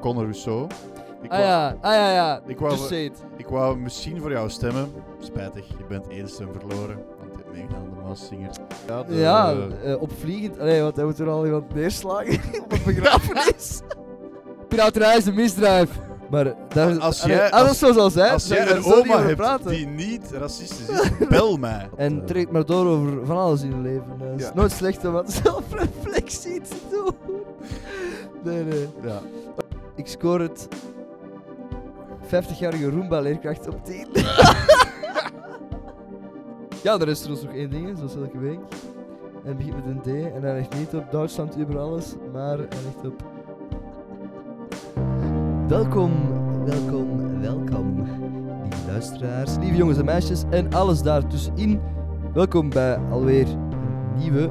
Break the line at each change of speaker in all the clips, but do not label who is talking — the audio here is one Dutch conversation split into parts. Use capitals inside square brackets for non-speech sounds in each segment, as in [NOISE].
Conor Rousseau. Ik
Ah
wou-
ja, ah ja, ja.
Ik wou-
Crusade.
Ik wou misschien voor jou stemmen. Spijtig, je bent één stem verloren. Want je hebt meegedaan aan de Massinger. Ja, de-
Ja, eh, opvliegend. Allee, want hij moet er al iemand neerslagen op een
[LAUGHS]
begrafenis. Piraterij is een misdrijf. Maar daar,
Als
allee,
jij-
ah, dat
als-
zo zal zijn,
Als
nee,
jij
daar
een
zullen we niet
oma
over
hebt
praten.
die niet racistisch is, [LAUGHS] bel mij. Eh,
En trekt maar door over van alles in het leven. Het is
Ja.
nooit slecht om wat [LAUGHS] zelfreflectie te doen. Nee, nee.
Ja.
Ik scoor het 50-jarige Roomba-leerkracht op 10. ja, er is trouwens nog één ding, hè, zoals elke week. En het begint met een D en hij ligt niet op Duitsland over alles, maar hij ligt op... Welkom, welkom, welkom, lieve luisteraars, lieve jongens en meisjes en alles daartussenin. Welkom bij alweer een nieuwe,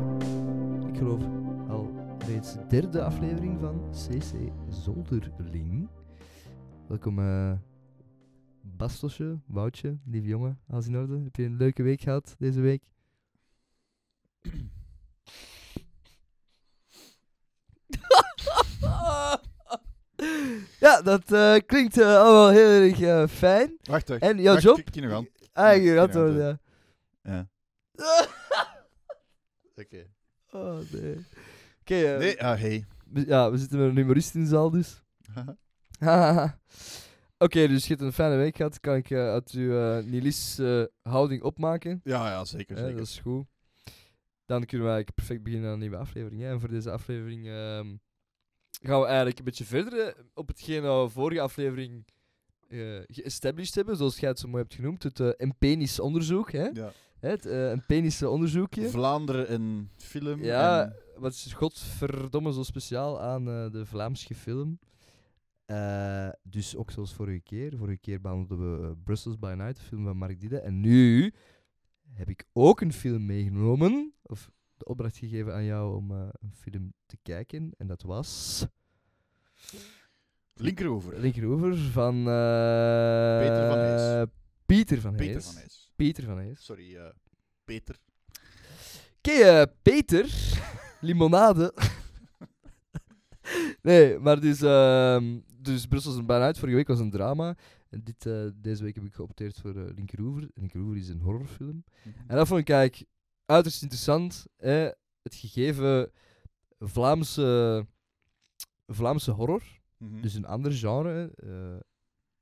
ik geloof al reeds derde aflevering van CC Zolderling. Welkom eh Bastosje, Woutje, lieve jongen, alles in orde? Heb je een leuke week gehad deze week? ja, dat eh, klinkt eh, allemaal heel erg eh, fijn.
Wacht, wacht.
En jouw
Wacht,
job?
kijk hier nog aan.
Ah, je
Ja,
antwoord, ja.
inderdaad, Ja. Oké.
[LAUGHS] oh, nee. Oké, eh,
Nee, ah, hey. [LAUGHS]
we- ja, we zitten met een humorist in de zaal dus. Hahaha. [LAUGHS] Oké, dus je hebt een fijne week gehad. Kan ik eh, uit uw eh Nilis eh, houding opmaken?
Ja, ja, zeker,
Hè,
zeker.
Eh, dat is goed. Dan kunnen we eigenlijk perfect beginnen aan een nieuwe aflevering. Hè. En voor deze aflevering ehm, gaan we eigenlijk een beetje verder eh, op hetgeen dat we vorige aflevering eh geëstablished hebben. Zoals jij het zo mooi hebt genoemd. Het eh empenisch onderzoek. Hè.
Ja.
Hè, Het eh empenische onderzoekje.
Vlaanderen en film.
Ja,
en-
wat is godverdomme zo speciaal aan eh, de Vlaamse film? Eh, dus ook zoals vorige keer. Vorige keer behandelden we eh, Brussels by Night, de film van Mark Didde. En nu heb ik ook een film meegenomen. Of de opdracht gegeven aan jou om eh, een film te kijken. En dat was...
Linkeroever.
Linkeroever van...
Peter van
eh,
Hees.
Pieter van Hees.
Peter van Hees.
Peter van Hees.
Sorry, eh, Peter.
Oké, eh, Peter. Limonade. nee, maar dus, ehm dus Brussel is een baan uit. Vorige week was een drama. En dit, eh, deze week heb ik geopteerd voor eh, Linkeroever. Linkeroever is een horrorfilm. En dat vond ik eigenlijk uiterst interessant. Hè? Het gegeven Vlaamse, Vlaamse horror.
Mhm.
Dus een ander genre. hè. Eh,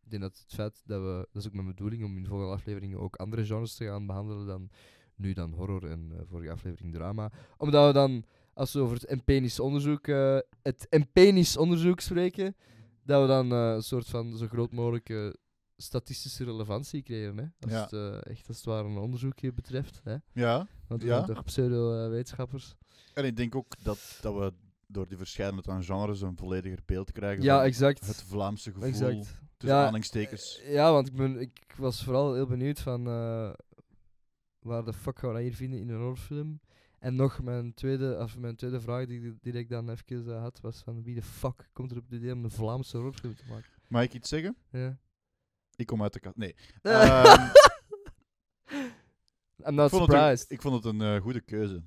ik denk dat het feit dat we. Dat is ook mijn bedoeling om in volgende afleveringen ook andere genres te gaan behandelen dan nu dan horror en eh, vorige aflevering drama. Omdat we dan, als we over het empenisch onderzoek, eh, het empenisch onderzoek spreken, dat we dan eh, een soort van zo groot mogelijke statistische relevantie creëren. Hè? Als
Ja.
het eh, echt als het ware een onderzoekje betreft. Hè?
Ja,
Want we
Ja.
zijn toch eh, pseudo-wetenschappers.
en ik denk ook dat, dat we door die verscheidenheid aan genres een vollediger beeld krijgen
ja,
van
exact.
het Vlaamse gevoel
exact.
tussen
Ja,
aanhalingstekens.
Eh, Ja, want ik, ben, ik was vooral heel benieuwd van eh, waar de fuck gaan we dat hier vinden in een horrorfilm. En nog mijn tweede, of mijn tweede vraag die, die ik dan even eh, had, was van wie de fuck komt er op het idee om een Vlaamse horrorfilm te maken?
Mag ik iets zeggen?
Ja.
Ik kom uit de kast. Nee. Ehm,
[LAUGHS] Ehm, I'm not
ik, vond het
surprised.
een, ik vond het een eh, goede keuze.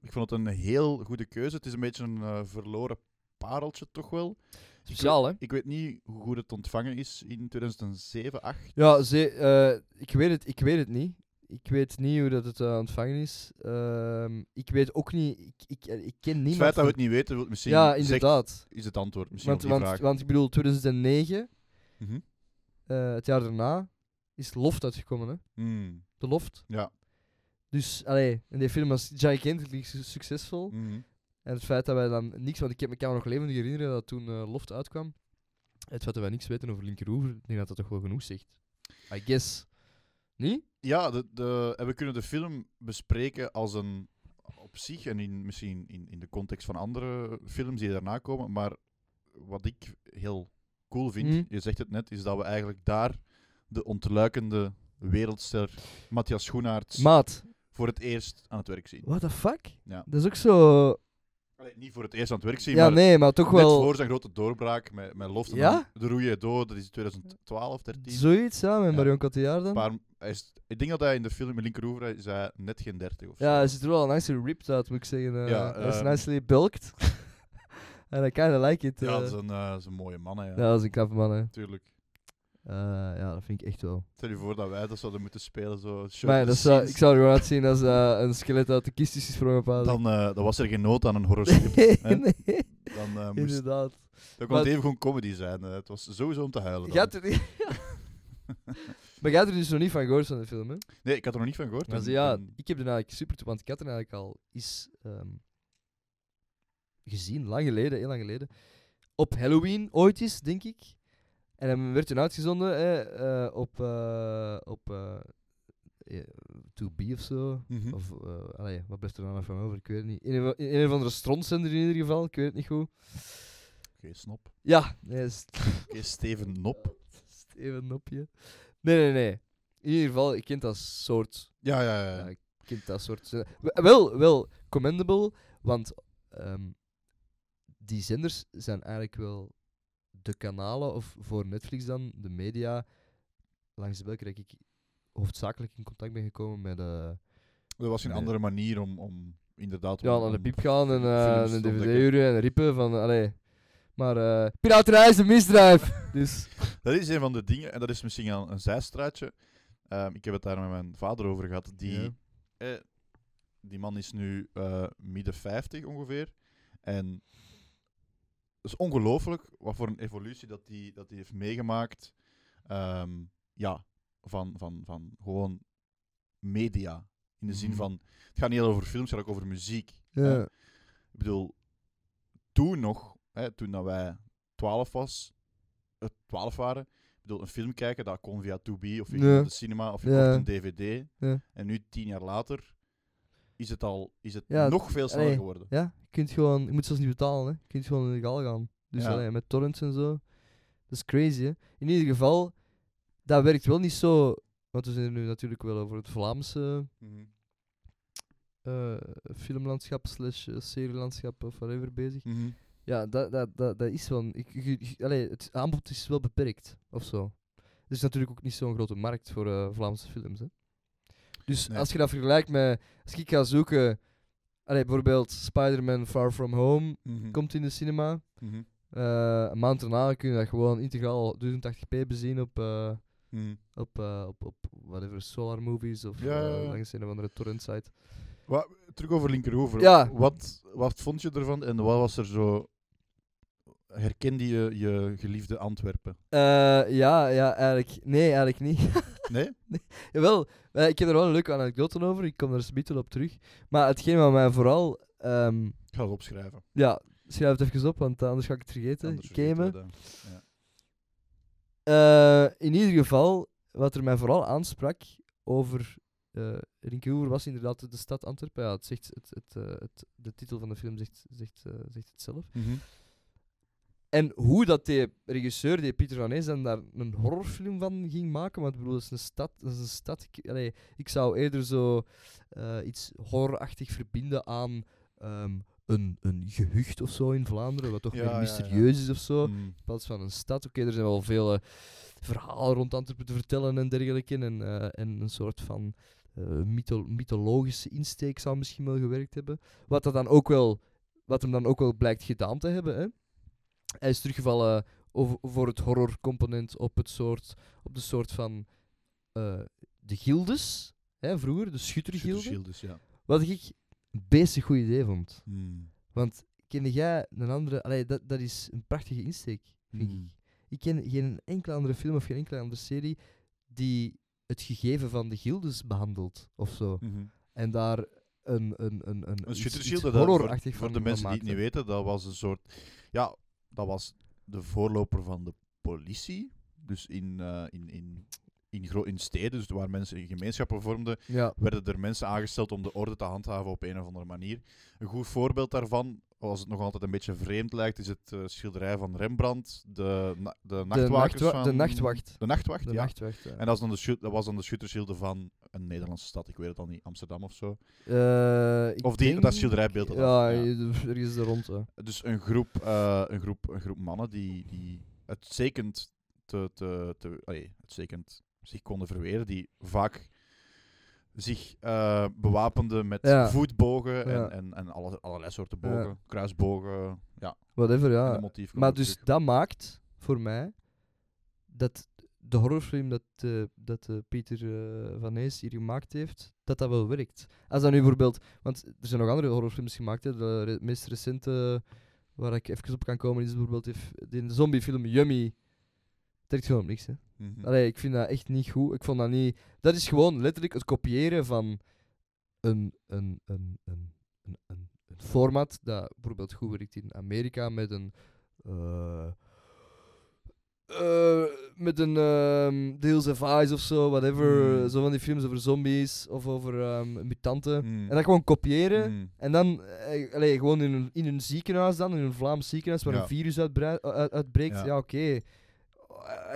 Ik vond het een heel goede keuze. Het is een beetje een eh, verloren pareltje toch wel.
Speciaal, hè?
Ik weet niet hoe goed het ontvangen is in 2007, 8.
Ja, ze, eh, ik, weet het, ik weet het niet. Ik weet niet hoe dat het eh, ontvangen is. Ehm, ik weet ook niet, ik, ik, eh, ik ken
Het
niemand.
feit dat we
van-
het niet weten, wil misschien
ja,
zegt-
inderdaad.
is het antwoord. Misschien
want,
op die
want,
vraag.
want ik bedoel, 2009
Mhm.
eh, het jaar daarna is Loft uitgekomen, hè?
Hmm.
De Loft.
Ja.
Dus, allee, en die film was gigantisch su- succesvol.
Mhm.
En het feit dat wij dan niks, want ik heb me kan me nog levendig herinneren dat toen eh, Loft uitkwam, het feit dat wij niks weten over Linkeroever, ik denk dat dat toch wel genoeg zegt. I guess. Niet?
Ja, de, de, en we kunnen de film bespreken als een op zich en in, misschien in, in de context van andere films die daarna komen. Maar wat ik heel cool vind,
Mhm.
je zegt het net, is dat we eigenlijk daar de ontluikende wereldster Matthias Schoenaerts
Maat,
voor het eerst aan het werk zien.
what the fuck?
Ja.
Dat is ook zo...
Allee, niet voor het eerst aan het werk zien,
ja,
maar
nee, maar toch
net
wel
voor zijn grote doorbraak met, met Loft en
Ja?
dan De Roeie Dood, dat is 2012, 13.
zoiets, ja, met
Ja.
Marion Cotillard dan.
Paar- hij is, ik denk dat hij in de film in Linkeroever hij is hij net geen 30 of zo.
Ja, hij ziet er wel nicely ripped uit, moet ik zeggen. eh
Ja,
hij is
ehm,
nicely bulked. [LAUGHS] En I kinda like it.
Ja,
eh.
dat is een, eh, dat is een mooie man, hè, ja.
Ja, dat is een knappe man, hè.
Tuurlijk.
Eh, ja, dat vind ik echt wel.
Stel je voor dat wij dat zouden moeten spelen, zo. show
maar ja,
the
dat zou,
scenes.
ik zou er gewoon uitzien als eh, een skelet uit de kist is gesprongen. Dan, [LAUGHS]
Dan, eh, dan was er geen nood aan een horoscoop. hè?
nee,
Dan, eh, moest,
inderdaad.
dan kon
Maar-
het even gewoon comedy zijn. eh. het was sowieso om te huilen. dan.
Gaat er niet... [LAUGHS] maar jij had er dus nog niet van gehoord van de film, hè?
Nee, ik had er nog niet van gehoord.
Maar
En-
ze- ja,
en-
ik heb er eigenlijk super toe, want ik had er eigenlijk al eens ehm, gezien, lang geleden, heel lang geleden. Op Halloween ooit eens, denk ik. En dan werd toen uitgezonden hè, eh, op, eh, op eh, eh, 2B of zo.
Mhm.
Of, eh, allee, wat blijft er nou nog van over? Ik weet het niet. In een, in een of andere strontzender in ieder geval, ik weet het niet goed.
Oké, snop.
Ja, nee, is [LAUGHS]
Oké, Steven Nop.
Steven Nopje. Nee, nee, nee. In ieder geval, ik kent dat soort
Ja, ja, ja.
Ja,
ja.
ik vind dat soort. zin- W- Wel, wel commendable, want ehm, die zenders zijn eigenlijk wel de kanalen, of voor Netflix dan, de media, langs welke dat ik hoofdzakelijk in contact ben gekomen met. eh,
Er was geen
Nee.
andere manier om, om inderdaad...
ja,
om-
naar de
om-
piep gaan en eh,
films te
een dvd
ontdekken.
huren en rippen van. eh, Allee. Maar eh piraterij is een misdrijf! [LAUGHS] dus.
Dat is een van de dingen, en dat is misschien al een zijstraatje. Ehm, ik heb het daar met mijn vader over gehad. Die,
Ja.
eh, die man is nu eh, midden 50 ongeveer. En het is ongelooflijk wat voor een evolutie dat die, dat die heeft meegemaakt. Ehm, ja, van, van, van gewoon media. In de zin
Mhm.
van, het gaat niet alleen over films, het gaat ook over muziek.
Ja.
Eh, ik bedoel, toen nog, hè, toen dat wij 12 was, eh, 12 waren, ik bedoel, een film kijken, dat kon via 2B of je ging
Ja.
naar de cinema of je
Ja.
kocht een dvd.
Ja.
En nu, tien jaar later, is het al is het
Ja,
nog veel sneller
allee,
geworden.
Ja, je kunt gewoon, je moet zelfs niet betalen, hè. je kunt gewoon illegaal gaan. Dus
Ja.
allee, met torrents en zo. Dat is crazy, hè. In ieder geval, dat werkt wel niet zo, want we zijn er nu natuurlijk wel over het Vlaamse
Mhm.
eh, filmlandschap slash eh, serielandschap of whatever bezig.
Mhm.
Ja, dat, dat, dat, dat is wel, ik, je- je- allee, het aanbod is wel beperkt, of zo. Er is natuurlijk ook niet zo'n grote markt voor eh, Vlaamse films, hè. Dus
Nee.
als je dat vergelijkt met, als ik ga zoeken, allee, bijvoorbeeld Spider-Man Far From Home,
Mhm.
komt in de cinema.
Mhm.
Eh, een maand daarna kun je dat gewoon integraal 1080p bezien op, eh,
Mhm.
op, eh, op, op whatever, Solar Movies of
Ja, ja,
eh,
ja.
langs een of andere torrent site.
Wa- terug over Linkeroever.
Ja.
Wat, wat vond je ervan en wat was er zo... Herkende je je geliefde Antwerpen?
Eh, ja, ja, eigenlijk, nee, eigenlijk niet. [LAUGHS]
Nee?
Jawel, eh, ik heb er wel een leuke anekdote over, ik kom er zometeen wel op terug. Maar hetgeen wat mij vooral, ehm,
Ik ga het opschrijven.
ja, schrijf het even op, want anders ga ik het vergeten.
Anders
Ik ken me.
vergeten we dat.
Eh, in ieder geval, wat er mij vooral aansprak over eh Rinkehoever was inderdaad de stad Antwerpen. Ja, het zegt, het, het, eh, het, de titel van de film zegt, zegt, eh, zegt het zelf.
Mhm.
En hoe dat die regisseur, die Pieter Van Ees, dan daar een horrorfilm van ging maken. Want ik bedoel, dat is een stad. Dat is een stad ik, allee, ik zou eerder zo eh, iets horrorachtig verbinden aan ehm, een, een gehucht of zo in Vlaanderen. Wat toch
Ja, ja,
meer
ja.
mysterieus is of zo
Mhm.
in plaats van een stad. Oké, er zijn wel veel eh, verhalen rond Antwerpen te vertellen en dergelijke. En, eh, en een soort van eh, mytho- mythologische insteek zou misschien wel gewerkt hebben. Wat, dat dan ook wel, wat hem dan ook wel blijkt gedaan te hebben. Hè? Hij is teruggevallen over, voor het horrorcomponent op, het soort, op de soort van eh, de gildes. Hè, vroeger, de schuttergilden.
Schutterschild, dus ja. Mhm.
Wat ik een bezig goed idee vond. Want kende jij een andere. Allee, dat, dat is een prachtige insteek, vind
Hmm.
ik. Ik ken geen enkele andere film of geen enkele andere serie die het gegeven van de gildes behandelt of zo.
Mhm.
En daar een. Een, een, een,
Een
iets-
schutterschild,
iets
dat eh, voor,
horrorachtig
voor
van-
de
van
mensen die het
maakte.
niet weten, dat was een soort... Ja, dat was de voorloper van de politie. Dus in, eh, in, in, in, gro- in steden, dus waar mensen in gemeenschappen vormden,
Ja,
werden er mensen aangesteld om de orde te handhaven op een of andere manier. Een goed voorbeeld daarvan, als het nog altijd een beetje vreemd lijkt, is het eh, schilderij van Rembrandt, de, na- de
de,
nachtwakers
nachtwa-
van...
de nachtwacht.
De nachtwacht,
De
ja.
nachtwacht. Ja.
En dat, is dan de shoot, dat was dan de schutterschilden van een Nederlandse stad, ik weet het al niet, Amsterdam of zo.
Eh, ik
Of die,
denk-
dat schilderijbeeld. dat
Ja,
was, ja.
je- ergens er rond. hè.
Dus een groep, eh, een groep, een groep mannen die, die uitstekend, te, te, te, allee, uitstekend zich konden verweren, die vaak zich eh, bewapenden met
Ja.
voetbogen en,
Ja.
en, en alle, allerlei soorten bogen,
Ja.
kruisbogen, Ja.
Whatever,
En
ja.
dat motief komt
Maar
ook
dus
terug.
dat maakt voor mij dat de horrorfilm dat, eh, dat eh, Pieter eh, Van Hees hier gemaakt heeft, dat dat wel werkt. Als dat nu bijvoorbeeld, want er zijn nog andere horrorfilms gemaakt, hè, de re- meest recente waar ik even op kan komen is bijvoorbeeld die f- die zombiefilm Yummy. Het werkt gewoon op niks, hè.
Mhm.
Allee, ik vind dat echt niet goed. Ik vond dat niet... Dat is gewoon letterlijk het kopiëren van een, een, een, een, een, een, een format dat bijvoorbeeld goed werkt in Amerika met een... eh, eh, met een ehm Deals of Eyes of zo, whatever.
Mm.
Zo van die films over zombies of over ehm, mutanten.
Mm.
En dat gewoon kopiëren.
Mm.
En dan eh, allee, gewoon in een, in een ziekenhuis dan, in een Vlaams ziekenhuis waar
Ja.
een virus uitbrei- u- uit- uitbreekt. Ja,
Ja.
oké. Eh,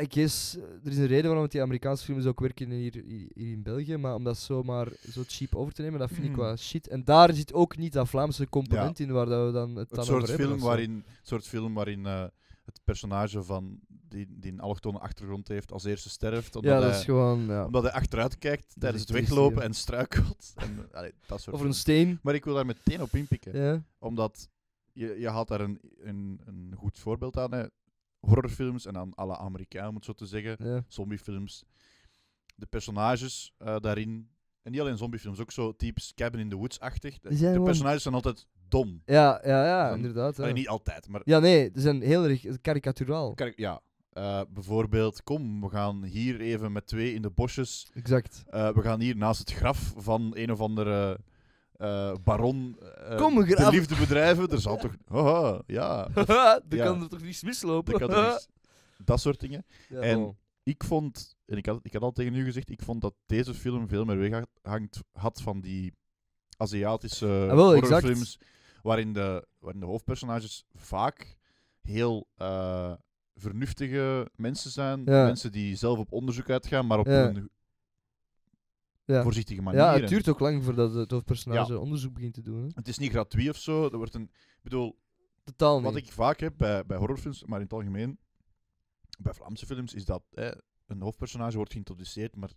I guess, eh, er is een reden waarom die Amerikaanse films ook werken hier, hier hier in België, maar om dat zomaar zo cheap over te nemen, dat vind ik
Mm.
wel shit. En daar zit ook niet dat Vlaamse component in waar dat we dan het dan
Het
over
soort
hebben
film
of zo.
waarin, het soort film waarin eh, het personage van die, die een allochtone achtergrond heeft als eerste sterft. Omdat,
Ja, dat
hij,
is gewoon... Ja.
omdat hij achteruit kijkt tijdens
is
het
triest,
weglopen
ja.
en struikelt. [LAUGHS] En, eh, allee, dat soort
Over
film.
een steen.
Maar ik wil daar meteen op inpikken.
Ja.
Omdat je, je haalt daar een, een, een goed voorbeeld aan. Hè. Horrorfilms en aan alle Amerikaan, om het zo te zeggen.
Ja.
Zombiefilms. De personages eh, daarin. En niet alleen zombiefilms, ook zo types Cabin in the Woods-achtig. De,
Die zijn
de
gewoon-
personages zijn altijd dom.
Ja, ja, ja,
Van-
inderdaad. Ja.
Allee, niet altijd, maar
ja, nee, ze zijn heel erg karikaturaal.
Kijk, ja. Eh, bijvoorbeeld, kom, we gaan hier even met twee in de bosjes. [LAUGHS]
Exact. [LAUGHS]
Eh, we gaan hier naast het graf van een of andere eh, baron eh,
Kom, we
de
graven.
liefde bedrijven. Er zal toch... Haha, ja. Of,
Daar
Ja.
kan er toch niets mislopen?
ik had er iets- dat soort dingen.
[LAUGHS] Ja,
en-
wel.
Ik vond, en ik had, ik had al tegen u gezegd, ik vond dat deze film veel meer weghangt had van die Aziatische
Ah, wel, exact.
horrorfilms, waarin de, waarin de hoofdpersonages vaak heel eh, vernuftige mensen zijn.
Ja.
Mensen die zelf op onderzoek uitgaan, maar op
Ja.
een
Ja.
voorzichtige manier.
Ja,
En
het duurt ook lang voordat het hoofdpersonage onderzoek begint te doen. Hè?
het is niet gratuit of zo. Er wordt een, ik bedoel,
Totaal niet.
Wat ik vaak heb bij, bij horrorfilms, maar in het algemeen, bij Vlaamse films, is dat hè, een hoofdpersonage wordt geïntroduceerd, maar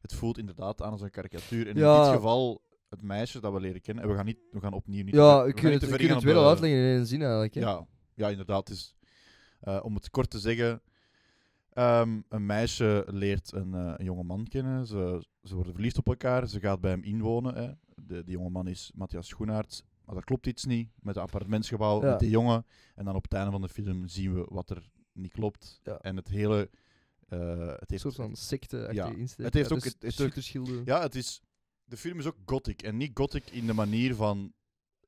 het voelt inderdaad aan als een karikatuur. En
Ja.
in dit geval het meisje dat we leren kennen, en we gaan, niet, we gaan opnieuw niet
ja,
we
ik
gaan
kun
niet
het,
te
ik
ver
kun
gaan
het
op
wel
de-
al uitleggen in één zin eigenlijk. Hè?
Ja, ja inderdaad. Het is, eh, om het kort te zeggen, ehm, een meisje leert een, eh, een jonge man kennen. Ze, ze worden verliefd op elkaar. Ze gaat bij hem inwonen. Hè. De, die jonge man is Matthias Schoenaerts. Maar dat klopt iets niet met het appartementsgebouw,
Ja.
met die jongen. En dan op het einde van de film zien we wat er niet klopt.
Ja.
En het hele... eh, het
Een
heeft,
soort van secte
Ja.
insteek.
Het heeft
ja,
ook-
dus
het heeft ook-
schutterschilden.
Ja, het is... De film is ook gothic. En niet gothic in de manier van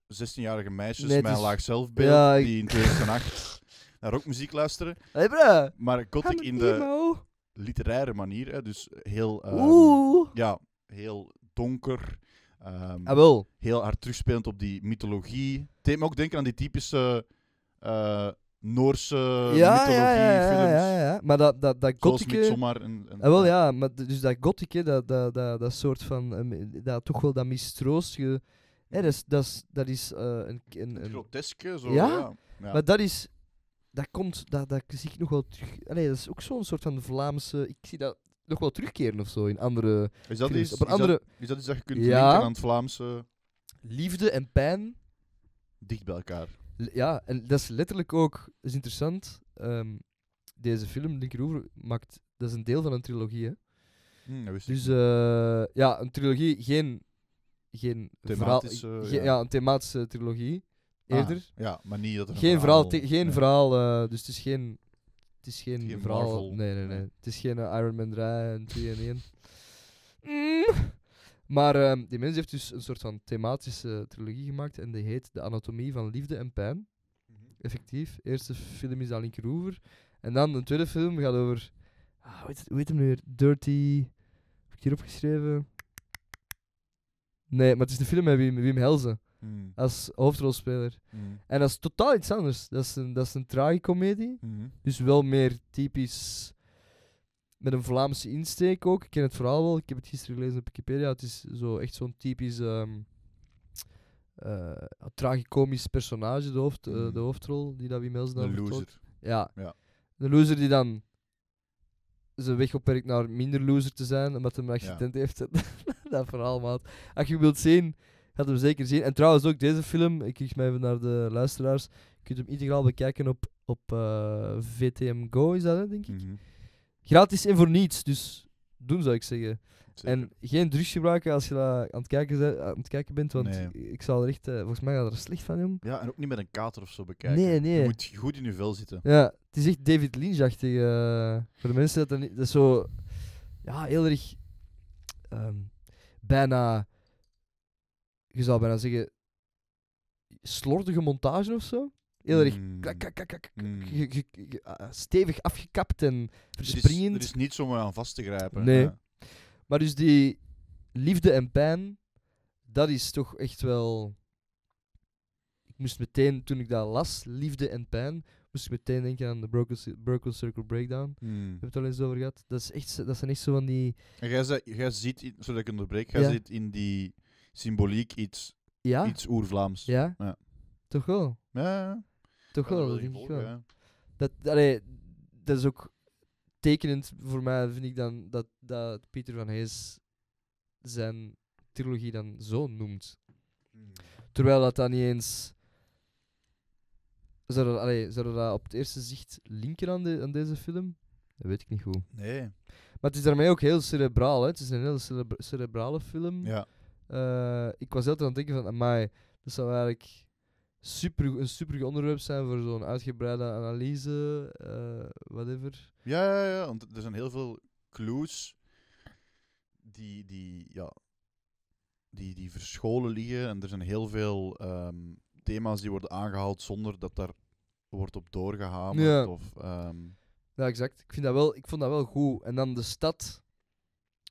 16-jarige meisjes
Nee, het
met een
is-
laag zelfbeeld
Ja, ik-
die in 2008 naar rockmuziek luisteren.
[LAUGHS] Hey, bro!
Maar gothic
I'm
in
an
de
emo.
literaire manier, hè, dus heel, ehm,
Oeh!
ja, heel donker, ehm,
Ah, wel.
heel hard terugspelend op die mythologie. Het deed me ook denken aan die typische eh, Noorse
ja,
eh, mythologie
ja, ja, ja,
films,
ja, ja. Maar dat, dat, dat
zoals
gothieke...
Midsommar. En, en, eh,
Ah, wel, ja, maar d- dus dat gothieke, dat, dat, dat, dat soort van... ehm, dat, toch wel dat mistroostige... hè, dat is... Dat is, dat is eh, een, een,
Het
een,
groteske, zo,
Ja?
ja. ja.
Maar dat is... Dat komt... Dat, dat zie ik nog wel terug... Allee, dat is ook zo'n soort van Vlaamse... Ik zie dat nog wel terugkeren of zo in andere...
Is dat
films.
iets,
Op een
is
andere...
dat, is dat iets dat je kunt
Ja.
linken aan het Vlaamse
Liefde en pijn.
dicht bij elkaar?
L- Ja, en dat is letterlijk ook... Dat is interessant. ehm, deze film, Linkeroever, maakt... Dat is een deel van een trilogie, hè.
Hm, dat wist ik
Dus
niet.
eh, ja, een trilogie, geen... geen verhaal-
Thematische,
ge-
ja.
ja, een thematische trilogie.
Ah,
Eerder.
ja, maar niet dat er een
Geen verhaal, te- geen
nee.
verhaal eh, dus het is geen, het is geen,
Geen
verhaal.
Marvel.
Nee, nee, nee.
Nee.
Het is geen eh, Iron Man 3 en 2 en 1. Mm. Maar ehm, die mens heeft dus een soort van thematische trilogie gemaakt en die heet De Anatomie van Liefde en Pijn. Effectief. Eerste film is Alink Roever. En dan een tweede film gaat over, ah, hoe, heet het- hoe heet hem nu weer? Dirty, heb ik hier opgeschreven? Nee, maar het is de film met Wim, Wim Helzen
Hm,
als hoofdrolspeler.
hm,
En dat is totaal iets anders. Dat is een, dat is een tragicomedie.
hm.
Dus wel meer typisch met een Vlaamse insteek ook. Ik ken het verhaal wel. Ik heb het gisteren gelezen op Wikipedia. Het is zo echt zo'n typisch ehm eh, tragicomisch personage, de, hoofd, eh,
Mhm.
de hoofdrol die dat Wim Helsen dan
Een
vertolkt.
loser.
Ja.
Ja.
De loser die dan zijn weg opwerkt [LAUGHS] naar minder loser te zijn, omdat hij een accident heeft. dat verhaal, maat. Als je wilt zien Gaat hem zeker zien. En trouwens ook deze film, ik kijk mij even naar de luisteraars. Je kunt hem integraal bekijken op, op eh, VTM Go, is dat hè, denk ik?
Mhm.
Gratis en voor niets, dus doen zou ik zeggen.
Zeker.
En geen drugs gebruiken als je dat aan het kijken, ze- aan het kijken bent, want
Nee.
ik zal er echt, eh, volgens mij gaat er slecht van, jong.
Ja, en ook niet met een kater of zo bekijken.
Nee, nee.
Je moet goed in je vel zitten.
Ja, het is echt David Lynch-achtig. eh, voor de mensen dat er niet... Dat is zo... Ja, heel erg... ehm, bijna... Je zou bijna zeggen... Slordige montage of zo. Heel erg...
Mm.
klak, klak, klak, klak,
Mm.
ge- ge- ge- ah, stevig afgekapt en
Er is-
verspringend.
Er is niet zomaar aan vast te grijpen.
Nee.
Ja.
Maar dus die liefde en pijn, dat is toch echt wel. Ik moest meteen, toen ik dat las, liefde en pijn, moest ik meteen denken aan de Broken, Ci- Broken Circle Breakdown. We
Mm.
hebben het al eens over gehad. Dat, is echt, zo- dat zijn echt zo van die.
En jij, zei- jij ziet, in- sorry dat ik onderbreek, jij
Ja.
ziet in die symboliek iets,
Ja,
iets oer-Vlaams.
ja,
Ja.
toch wel.
Ja, ja.
Toch
Ja,
wel,
dat wil
dat
je
denk ik
volgen,
wel.
ja.
Dat, allee, dat is ook tekenend voor mij, vind ik dan, dat, dat Pieter van Hees zijn trilogie dan zo noemt. Terwijl dat dan niet eens. Zouden, allee, zouden dat op het eerste zicht linken aan, de, aan deze film? Dat weet ik niet goed.
Nee.
Maar het is daarmee ook heel cerebraal. Hè? Het is een heel cerebra- cerebrale film.
Ja.
Eh, ik was altijd aan het denken van, amai, dat zou eigenlijk super, een supergoed onderwerp zijn voor zo'n uitgebreide analyse, eh, whatever.
Ja, ja, ja, want er zijn heel veel clues die, die, ja, die, die verscholen liggen. En er zijn heel veel ehm, thema's die worden aangehaald zonder dat daar wordt op doorgehamerd.
Ja.
Of, ehm,
Ja, exact. Ik, vind dat wel, ik vond dat wel goed. En dan de stad.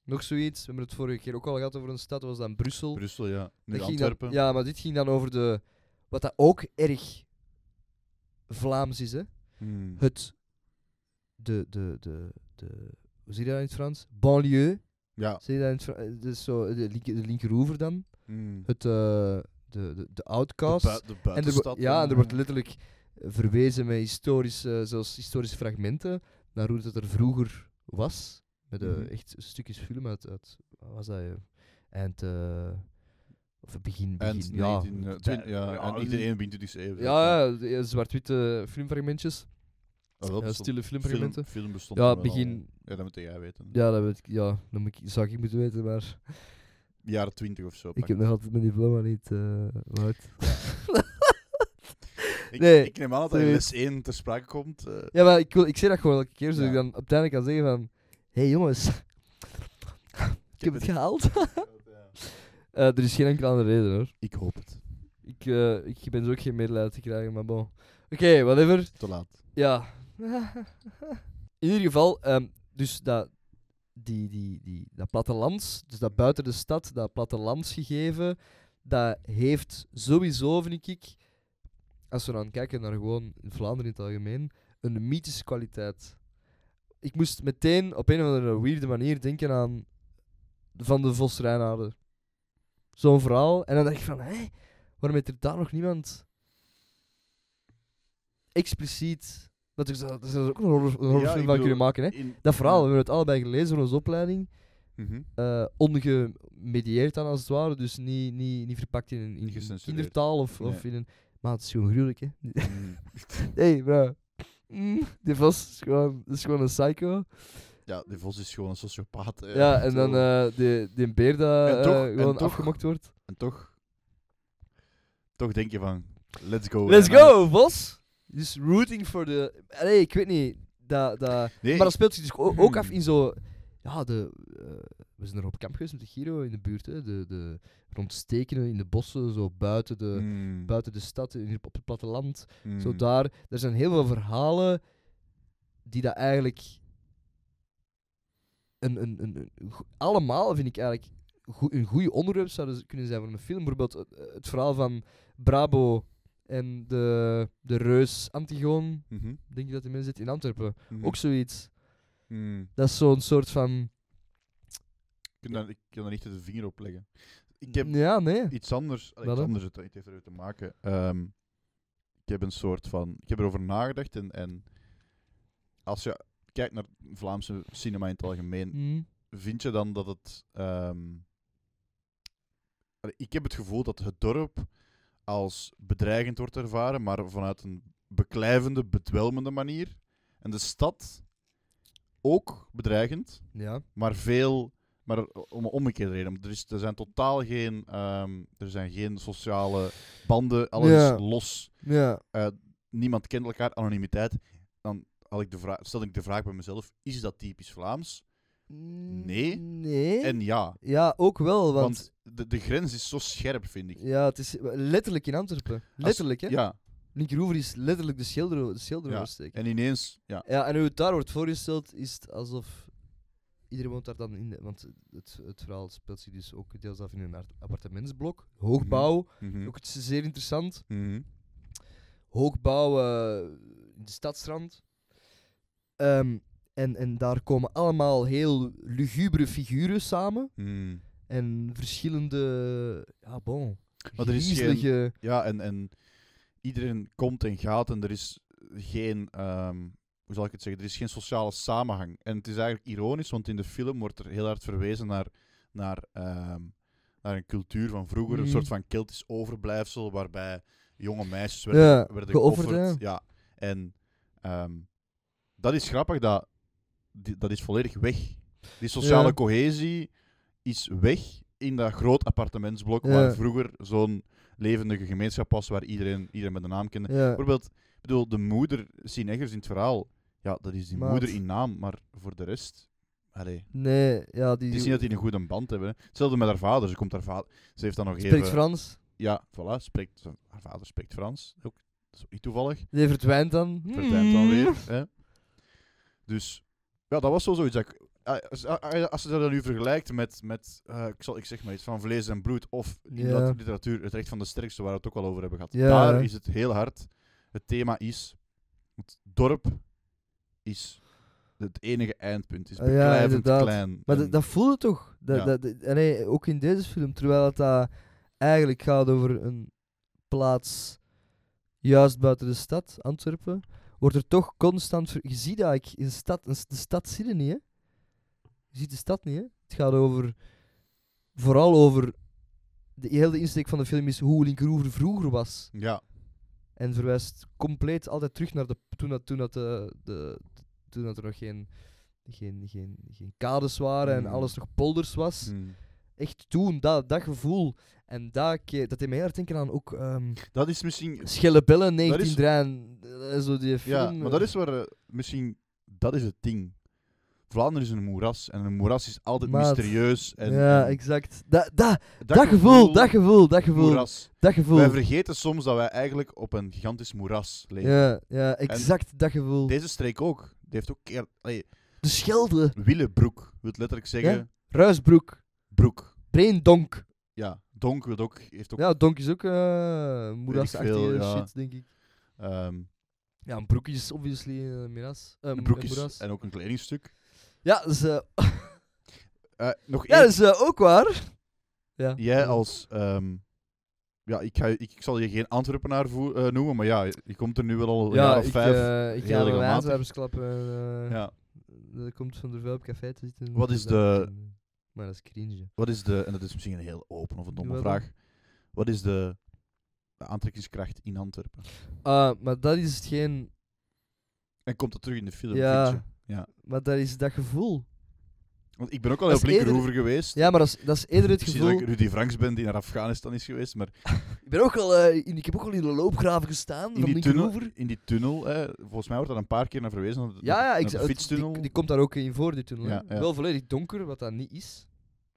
Nog zoiets. We hebben het vorige keer ook al gehad over een stad. Dat was dan Brussel.
Brussel, ja. Nu
Dat ging dan-
Antwerpen.
ja, maar dit ging dan over de. Wat dat ook erg Vlaams is, hè?
Hmm.
Het. De. de, de, de hoe zie je dat in het Frans? Banlieue.
Ja.
Zie je dat in het Frans? Dus zo, de, linker, de linkeroever dan.
Hmm.
Het, eh, de, de, de
De,
outcast.
bui- de
en er, wo-
buitenstad. hmm.
ja,
dan,
en er wordt letterlijk verwezen met historische, zoals historische fragmenten naar hoe dat er vroeger was. Met eh,
Mhm.
echt stukjes film uit, uit wat was dat, eh, eind, eh, of begin,
En,
begin, ja.
19, eh, twin- ja, en iedereen wint dus even.
Ja, ja, de- eh, zwart-witte filmfragmentjes.
Ah, wel,
eh,
bestond-
stille
film,
filmfragmenten.
film bestond
Ja,
toen wel
begin...
al. Ja, dat moet jij weten.
Ja, dat weet ik, ja, dat moet ik, zou ik moeten weten, maar
Jaren 20 of zo.
ik
pak.
heb nog altijd mijn diploma niet eh uit.
Ik,
nee.
ik neem aan dat hij in
Nee.
les 1 ter sprake komt. eh,
Ja, maar ik, wil, ik zeg dat gewoon elke keer, zodat ik
Ja.
dan uiteindelijk kan zeggen van... Hé hey, jongens, ik heb het gehaald. Eh, er is geen enkele andere reden hoor.
Ik hoop het.
Ik, eh, ik ben dus ook geen medelijden te krijgen, maar bon. Oké, whatever.
Te laat.
Ja. [LAUGHS] In ieder geval, ehm, dus dat, die, die, die, dat plattelands, dus dat buiten de stad, dat plattelandsgegeven, dat heeft sowieso, vind ik, als we dan kijken naar gewoon Vlaanderen in het algemeen, een mythische kwaliteit. Ik moest meteen op een of andere weirde manier denken aan Van de Vos Reinaarden. Zo'n verhaal. En dan dacht ik van, hé, waarom heeft er daar nog niemand expliciet... Dat ik, dat is ook een horror- een horrorfilm
ik
van
bedoel,
kunnen maken, hè.
In-
Dat verhaal, we
Ja.
hebben het allebei gelezen van onze opleiding.
Mhm.
[LAUGHS] eh ongemedieerd dan als het ware, dus niet, niet, niet verpakt in een in
Niet gecensureerd.
kindertaal of, of
Nee.
in een. Maar het is gewoon gruwelijk, hè? [LAUGHS]
Mhm.
Hé, hey, bro. Mm, die vos is gewoon, is gewoon een psycho.
ja, de vos is gewoon een sociopaat. eh,
Ja, en dan
zo.
eh die, die beer dat
En toch-
eh,
en
gewoon
toch-
afgemokt wordt.
En toch... Toch denk je van... Let's go.
Let's
En dan-
go, vos! Dus rooting for the. Nee, ik weet niet. Dat, dat...
Nee,
Maar dat speelt zich dus o- ook af
[CLEARS THROAT] Hmm.
in zo. Ja, de, eh, we zijn er op kamp geweest met de Giro in de buurt. Hè. De, de, rond Stekenen in de bossen, zo buiten de,
Mm,
buiten de stad, in, op het platteland.
mm.
Zo daar. Er zijn heel veel verhalen die dat eigenlijk. Een, een, een, een go- allemaal vind ik eigenlijk goe- een goede onderwerp zouden ze kunnen zijn voor een film. Bijvoorbeeld het, het verhaal van Brabo en de, de reus Antigoon,
Mhm,
denk ik dat die mensen zit in Antwerpen.
mhm,
Ook zoiets.
mm.
Dat is zo'n soort van.
Ik kan daar- ik kan daar niet de vinger op leggen. Ik heb
Ja, nee.
iets anders. allee,
Wel,
iets
hè?
anders het, het heeft eruit te maken. Ehm, ik heb een soort van. Ik heb erover nagedacht. En, en als je kijkt naar Vlaamse
Mm.
cinema in het algemeen,
Mhm.
vind je dan dat het ehm, allee, ik heb het gevoel dat het dorp als bedreigend wordt ervaren, maar vanuit een beklijvende, bedwelmende manier. En de stad ook bedreigend,
Ja.
maar veel, maar om een omgekeerde reden. Er, is, er zijn totaal geen, ehm, er zijn geen sociale banden, alles
Ja.
is los.
Ja.
Eh, niemand kent elkaar, anonimiteit. Dan had ik de vraag, stelde ik de vraag bij mezelf: is dat typisch Vlaams? Nee.
Nee.
En ja,
Ja, ook wel, want...
want de, de grens is zo scherp, vind ik.
Ja, het is letterlijk in Antwerpen. Letterlijk, hè?
Ja,
Linkeroever is letterlijk de schilder, de schilder
Ja.
oversteken.
en ineens, ja,
Ja, en hoe het daar wordt voorgesteld, is het alsof iedereen woont daar dan in. de- want het, het verhaal speelt zich dus ook deels af in een art- appartementsblok. Hoogbouw,
mhm,
ook iets zeer interessant.
mhm.
Hoogbouw eh, in de stadstrand. Ehm, en, en daar komen allemaal heel lugubere figuren samen.
Mhm.
En verschillende, ja bon,
Maar er is geen-
griezelige-
Ja, en, en iedereen komt en gaat en er is geen, ehm, hoe zal ik het zeggen, er is geen sociale samenhang. En het is eigenlijk ironisch, want in de film wordt er heel hard verwezen naar, naar, ehm, naar een cultuur van vroeger, een
Mhm.
soort van keltisch overblijfsel, waarbij jonge meisjes werden,
Ja,
werden
geofferd,
geofferd. Ja, en ehm, dat is grappig, dat, die- dat is volledig weg. Die sociale
Ja.
cohesie is weg in dat groot appartementsblok
Ja.
waar vroeger zo'n levendige gemeenschap was, waar iedereen, iedereen met een naam kende.
Ja.
Bijvoorbeeld, ik bedoel, de moeder, Sien Eggers in het verhaal, ja, dat is die
Maat.
moeder in naam, maar voor de rest, allee.
Nee, ja, die
Het is niet dat die een goede band hebben. hè. Hetzelfde met haar vader. Ze komt haar vader. Ze heeft dan nog
spreekt
even.
Frans.
Ja, voilà. Spreekt, haar vader spreekt Frans. Ook zoiets toevallig.
Die verdwijnt dan. Hmm.
verdwijnt dan
Mm.
weer. Hè? Dus ja, dat was zo zoiets. Dat ik, ah, als, ah, als je dat dan nu vergelijkt met, met eh, ik, zal, ik zeg maar iets, van vlees en bloed of in
Ja.
dat literatuur het recht van de sterkste, waar we het ook al over hebben gehad.
Ja.
Daar is het heel hard. Het thema is, het dorp is het enige eindpunt. is
Ah, ja,
beklijvend
inderdaad.
klein.
Maar
en-
dat, dat voelde toch? Dat,
Ja.
dat, dat- en nee, ook in deze film, terwijl het dat eigenlijk gaat over een plaats juist buiten de stad, Antwerpen, wordt er toch constant... ver- Je ziet eigenlijk in de stad... een s- De stad zie je niet, hè? Je ziet de stad niet, hè? Het gaat over... Vooral over... De hele insteek van de film is hoe Linkeroever vroeger was.
ja,
En verwijst compleet altijd terug naar de, toen, dat, toen, dat de, de, toen dat er nog geen, geen, geen, geen kades waren en
Mhm.
alles nog polders was.
hmm.
Echt toen, dat, dat gevoel. En dat, ke- dat deed mij heel erg denken aan
[LAUGHS]
ook ehm
dat is misschien...
Schellebellen 1903 en eh, zo die film.
Ja, maar dat
eh.
is waar... eh, misschien, dat is het ding. Vlaanderen is een moeras en een moeras is altijd
Maat.
mysterieus. En,
eh. ja,
en
exact. Dat, dat, dat, gevoel, dat gevoel, dat gevoel,
moeras.
dat gevoel.
Wij vergeten soms dat wij eigenlijk op een gigantisch moeras leven.
ja, ja, exact dat gevoel.
Deze streek ook. Die heeft ook keer, allee,
De Schelde,
Willebroek wil letterlijk zeggen
Ja. Ruisbroek,
broek.
Breendonk.
Ja, Donk wil ook, heeft ook.
Ja, Donk is ook eh moerasachtige
veel, ja.
shit, denk ik.
ehm,
Ja, een broek is obviously een miras. Eh,
een
een
broek is
moeras.
en ook een kledingstuk.
[LAUGHS] Ja, dat is, eh,
Eh, nog
ja,
één.
dat is eh, ook waar. Ja.
Jij als. ehm, ja, ik, ga, ik, zal je geen Antwerpenaar voer- eh, noemen, maar ja, je komt er nu wel al een
Ja,
jaar of
ik,
vijf.
eh, ik
heel
ga mijn
regelmatig.
wijnzwebers klappen. En, eh,
ja.
Dat komt van de vuil op café te zitten.
Wat is
Dat-
de-
Maar dat is cringe.
Wat is de. En dat is misschien een heel open of een domme
Doe maar dan.
vraag. Wat is de, de aantrekkingskracht in Antwerpen?
Ah, maar dat is hetgeen...
En komt dat terug in de film?
Ja.
vind je? ja.
Maar dat is dat gevoel.
Want ik ben ook al
Dat
heel
is
flink
eerder-
over geweest.
Ja, maar dat is, dat
[LAUGHS]
is eerder het
Precies dat
gevoel...
ik Rudy Franks ben die naar Afghanistan is geweest. Maar
Ik, ben ook al, eh, in, ik heb ook al in de loopgraven gestaan.
in
van
die tunnel,
Linkeroever.
in die tunnel hè, volgens mij wordt daar een paar keer naar verwezen. naar de-
Ja, ja,
naar
ik,
de
het-
fietstunnel.
Die, die komt daar ook in voor, die tunnel. hè.
Ja, ja.
Wel volledig donker, wat dat niet is.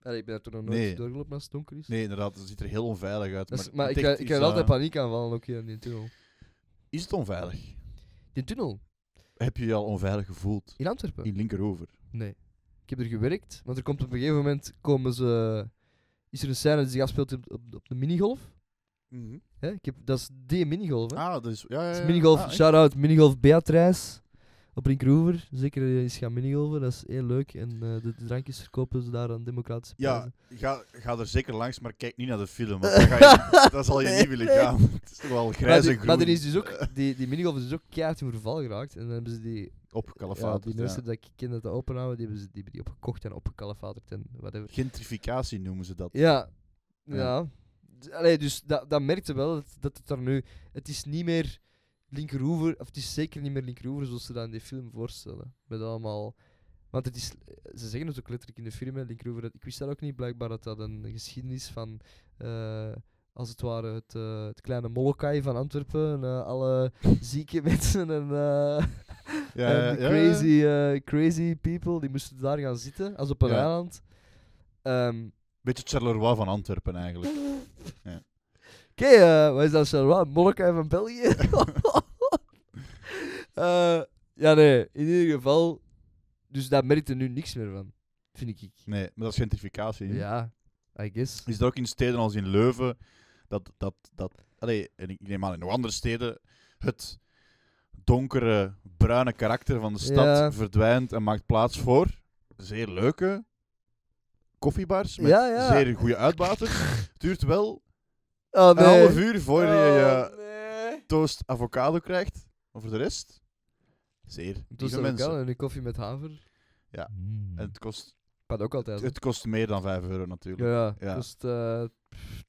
Allee, ik ben daar toen nog nooit
Nee.
doorgelopen als het donker is.
Nee, inderdaad, het ziet er heel onveilig uit.
Dat
Maar,
is- maar
het
ik,
echt
krijg- ik
is,
krijg
eh,
altijd paniek aanvallen ook hier in die tunnel.
Is het onveilig?
Die tunnel?
Heb je je al onveilig gevoeld?
In Antwerpen?
In linkerover.
Nee. Ik heb er gewerkt, want er komt op een gegeven moment komen ze, is er een scène die zich afspeelt op, op, op de minigolf. Hè? Ik heb, dat is die minigolf. Hè?
Mhm. Ah, dat is... Ja, ja,
Dat
ja.
is minigolf,
Ah, echt?
shout-out, minigolf Beatrice. Op Rinkroever, zeker eh, eens gaan minigolven, dat is heel leuk. En eh, de drankjes verkopen ze daar aan democratische
Ja,
prijzen.
ga, ga er zeker langs, maar kijk niet naar de film. Want dan,
[LAUGHS]
ga je, [LAUGHS] dan zal je
Nee.
niet willen
[LAUGHS]
gaan. Het is toch wel
Maar,
grijs
die,
en groen.
maar er is dus ook, die, die minigolf is dus ook keihard in verval geraakt. En dan hebben ze die,
Op
ja, die
Kalafatert, ja.
mensen dat ik ken dat dat openhouden, die hebben ze die, hebben die opgekocht en opgekalafaterd en whatever.
Gentrificatie noemen ze dat.
Ja,
Ja.
Ja. D- Allee, dus dat, dat merkte wel dat, dat het daar nu. Het is niet meer linkeroever, of het is zeker niet meer linkeroever zoals ze dat in die film voorstellen. Met allemaal. Want het is, ze zeggen het ook letterlijk in de film, hè, linkeroever. dat- Ik wist dat ook niet, blijkbaar, dat dat een geschiedenis van. eh, als het ware het, eh, het kleine Molokai van Antwerpen. En, eh,
[LAUGHS]
alle zieke mensen en, eh,
Ja,
en
ja,
de
ja.
crazy, eh, crazy people, die moesten daar gaan zitten, als op een
Ja.
eiland. Ehm,
Beetje het Charleroi van Antwerpen eigenlijk.
Oké, eh, wat is dat zo? Wat? Molokai van België?
[LAUGHS]
[LAUGHS] Eh, ja, nee. In ieder geval... Dus daar merkte nu niks meer van. Vind ik.
Nee, maar dat is gentrificatie. hè?
Ja, I guess.
Is dat ook in steden als in Leuven, dat, dat, dat allee, en ik neem aan in nog andere steden, het donkere, bruine karakter van de stad
Ja.
verdwijnt en maakt plaats voor zeer leuke koffiebars met
Ja, ja.
zeer goede uitbaters.
[LAUGHS]
Het duurt wel
Oh, nee.
een half uur voor je je
Oh, nee.
toast avocado krijgt. Maar voor de rest, zeer
Dus
lieve
dat
mensen.
en een koffie met haver.
Ja,
Mm.
En het kost,
Kan ook altijd.
het kost meer dan 5 euro
ja,
natuurlijk.
ja.
Ja.
Kost, eh,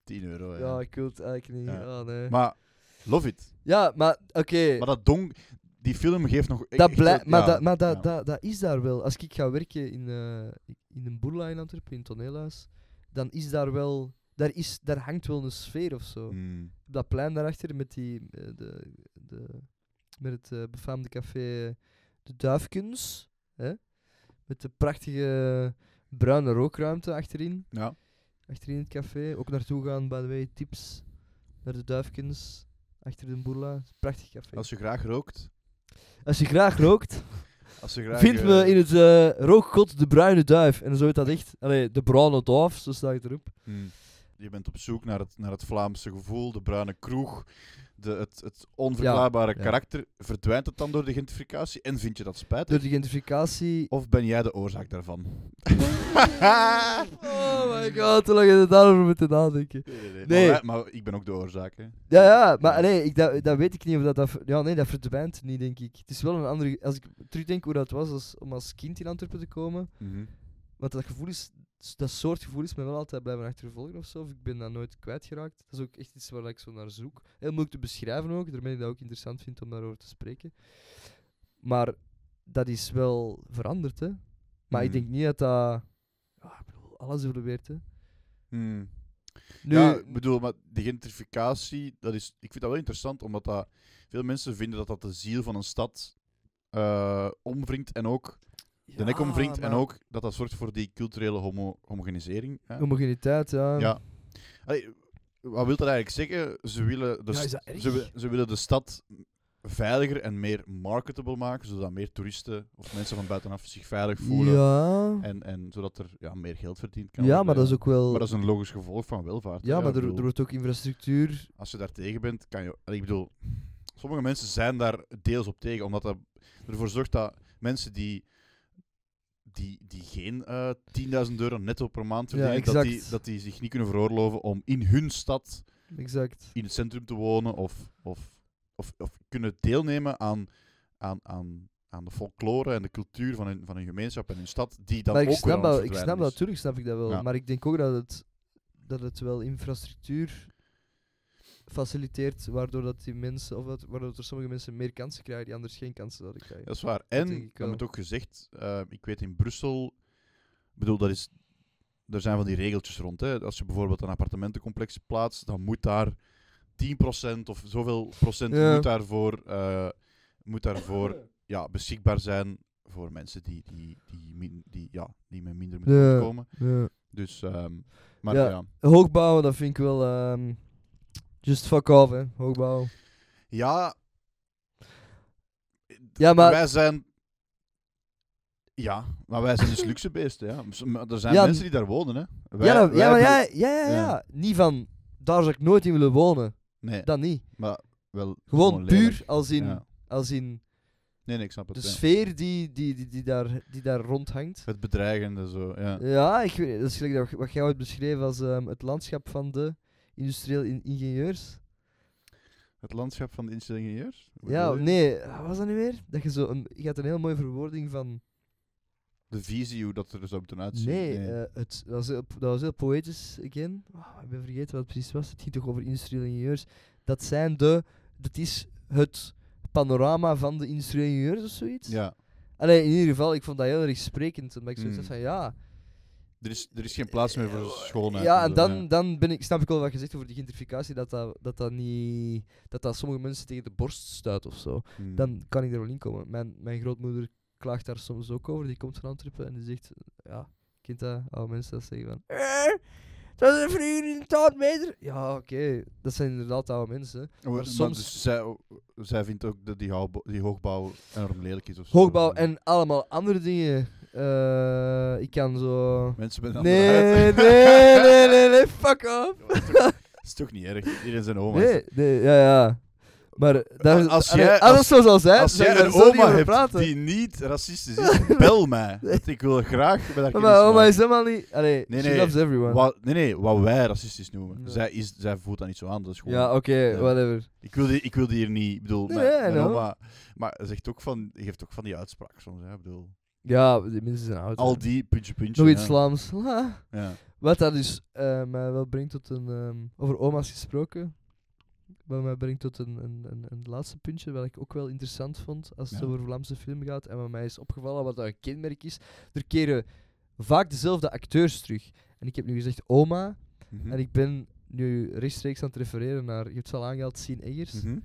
10 euro. Ja.
ja, ik wil het eigenlijk niet.
Ja.
Oh, nee.
Maar love it.
ja, maar... Oké.
Maar dat donk... Die film geeft nog...
Eh, Dat blij-
blijft.
maar dat, maar dat, dat, dat is daar wel. Als ik ga werken in, eh, in een boerla in Antwerpen, in een toneelhuis, dan is daar wel... Daar, is, daar hangt wel een sfeer of zo.
Mm.
Op dat plein daarachter met, die, eh, de, de, met het eh, befaamde café De Duifkens. Hè? Met de prachtige bruine rookruimte achterin.
Ja.
Achterin het café. Ook naartoe gaan, by the way, tips. Naar De Duifkens. Achter de boerla. Prachtig café.
Als je graag rookt...
Als je graag rookt...
Als je graag...
Vindt
eh,
me in het eh rookgod de bruine duif. En zo heet dat echt. Allee, de bruine duif, zo staat het erop.
hmm. Je bent op zoek naar het, naar het Vlaamse gevoel, de bruine kroeg, de, het, het onverklaarbare
Ja, ja.
karakter. Verdwijnt het dan door de gentrificatie? En vind je dat spijtig?
Door de
[LAUGHS]
gentrificatie.
Of ben jij de oorzaak [LAUGHS] daarvan?
Oh my god, hoe lang heb je daarover moeten nadenken?
Nee, nee, nee.
Nee.
Maar, wij- maar ik ben ook de oorzaak, hè.
Ja, ja, maar allee, ik, dat, dat weet ik niet of dat... dat ver- ja, nee, dat verdwijnt niet, denk ik. Het is wel een andere... Als ik terugdenk hoe dat was als, om als kind in Antwerpen te komen...
Mhm.
Want dat gevoel is... Dat soort gevoel is me wel altijd blijven achtervolgen of zo. Of ik ben dat nooit kwijtgeraakt. Dat is ook echt iets waar ik zo naar zoek. Heel moeilijk te beschrijven ook. Daarmee ik dat ook interessant vind om daarover te spreken. Maar dat is wel veranderd, hè. Maar ik
Mhm.
denk niet dat dat... Ja, ik bedoel, alles evolueert, hè.
Hmm.
Nu,
Ja, ik bedoel, maar de gentrificatie, dat is, ik vind dat wel interessant, omdat dat, veel mensen vinden dat dat de ziel van een stad eh omwringt en ook de nek
Ja,
omwringt en
maar
ook dat dat zorgt voor die culturele homo homogenisering. hè.
Homogeniteit, ja.
Ja. Allee, wat wil dat eigenlijk zeggen? Ze willen de,
Ja, is
st-
dat erg?
dus ze, wi- ze willen de stad veiliger en meer marketable maken, zodat meer toeristen of mensen van buitenaf zich veilig voelen.
Ja,
En, en zodat er ja, meer geld verdiend kan
ja
worden.
maar dat is ook wel...
Maar dat is een logisch gevolg van welvaart. hè.
ja, maar
ik
er, er
bedoel-
wordt ook infrastructuur...
als je daar tegen bent, kan je. Ik bedoel, sommige mensen zijn daar deels op tegen, omdat dat ervoor zorgt dat mensen die. Die, die geen eh 10.000 euro netto per maand
Ja,
verdienen, dat, die,
exact.
dat die zich niet kunnen veroorloven om in hun stad,
Exact.
in het centrum te wonen of, of, of, of kunnen deelnemen aan, aan, aan, aan de folklore en de cultuur van hun, van hun gemeenschap en hun stad, die dan
maar
ook
ik snap,
weer aan het
dat, ik snap
verdwijnen
dat,
is.
natuurlijk snap ik dat wel.
Ja.
Maar ik denk ook dat het, dat het wel infrastructuur faciliteert, waardoor dat die mensen, of dat, waardoor er sommige mensen meer kansen krijgen die anders geen kansen zouden krijgen.
Dat is waar.
denk
En,
ik
dat
wel.
moet ook gezegd, eh, ik weet in Brussel, ik bedoel, dat is, er zijn van die regeltjes rond. Hè. Als je bijvoorbeeld een appartementencomplex plaatst, dan moet daar 10% of zoveel procent
Ja.
moet daarvoor, eh, moet daarvoor ja, beschikbaar zijn voor mensen die, die, die, min- die, ja, die met minder moeten
Ja.
komen. Dus, ehm, maar
Ja.
ja. ja.
Hoogbouwen, dat vind ik wel. ehm, just fuck off, hè? Hoogbouw. Ja, maar-
wij zijn... Ja, maar wij
[LAUGHS]
zijn dus luxe beesten. Ja. S- maar Er zijn
Ja,
mensen die daar wonen. Hè. Wij-
ja, dat-
wij
ja, maar
hebben-
ja, ja, ja, ja,
ja.
Niet van daar zou ik nooit in willen wonen.
Nee,
Dat niet.
maar wel...
Gewoon
lelijk.
puur als in, Dus
Ja.
als in
Nee, nee, ik snap het.
de
ja.
sfeer die, die, die, die, daar, die daar rondhangt.
Het bedreigende, zo. Ja.
Ja, ik weet, dat is gelijk dat- wat jij ooit beschreef als ehm, het landschap van de industrieel in- ingenieurs.
Het landschap van de ingenieurs? Wat
Ja,
bedoel je?
nee, wat was dat nu weer? Dat je zo een, je had een heel mooie verwoording van
de visie hoe dat er zou moeten uitzien.
Nee, eh, het, dat, was heel, dat was heel poëtisch, again. Ah, ik ben vergeten wat het precies was. Het ging toch over industriële ingenieurs. Dat zijn de... Dat is het panorama van de industriële ingenieurs of zoiets.
ja,
Allee, in ieder geval, ik vond dat heel erg sprekend. Omdat ik zoiets
Mm.
had van, ja...
er is, er is geen plaats meer voor schoonheid.
Eh, Ja,
zo,
en dan,
ja.
dan ben ik, snap ik wel wat je zegt over die gentrificatie, dat dat, dat, dat, niet, dat dat sommige mensen tegen de borst stuit of zo.
Hmm.
Dan kan ik er wel in komen. Mijn, mijn grootmoeder klaagt daar soms ook over, die komt van Antwerpen en die zegt, ja, kind dat, oude mensen dat zeggen van, "Eh, dat is een vriendin, tot meter. Ja, oké, dat zijn inderdaad oude mensen.
Maar- maar
soms-
dus zij, zij vindt ook dat die, houbo- die hoogbouw enorm lelijk is. Of zo.
Hoogbouw en allemaal andere dingen. Eh, ik kan zo...
Mensen met een andere
Nee, nee,
huid.
nee, nee, nee, fuck off.
Ja, maar dat is toch- [LAUGHS] dat is toch niet erg? Iedereen zijn oma.
Nee, nee, ja, ja. Maar daar,
als
als,
jij-
jij, als,
als-
het zo zal zijn,
Als
dan
jij
daar
een
zullen we niet
oma
over
hebt
praten.
die niet racistisch is, [LAUGHS] bel mij. Want ik wil graag met haar
maar
kennis
mijn oma
maken.
is helemaal niet... Allee,
Nee,
she
nee,
loves everyone.
Wat, nee, nee, wat wij racistisch noemen.
Ja.
Zij, is, zij voelt dat niet zo aan. Dat is gewoon,
ja, oh. oké, whatever.
ik, wil die, ik wil die hier niet. Ik bedoel,
Nee,
mijn,
nee,
mijn
no.
oma. Maar ze zegt ook van, die geeft ook van die uitspraak soms. Hè, ik bedoel,
Ja, die mensen zijn oud.
al
hè.
die puntje, puntje.
Nog iets
ja.
Vlaams. La.
Ja.
Wat dat dus eh, mij wel brengt tot een... ehm, over oma's gesproken. Wat mij brengt tot een, een, een, een laatste puntje, wat ik ook wel interessant vond als het
Ja.
over Vlaamse film gaat. En wat mij is opgevallen, wat dat een kenmerk is. Er keren vaak dezelfde acteurs terug. En ik heb nu gezegd oma,
Mhm.
En ik ben nu rechtstreeks aan het refereren naar, je hebt het al aangehaald, Sien Eggers.
Mhm.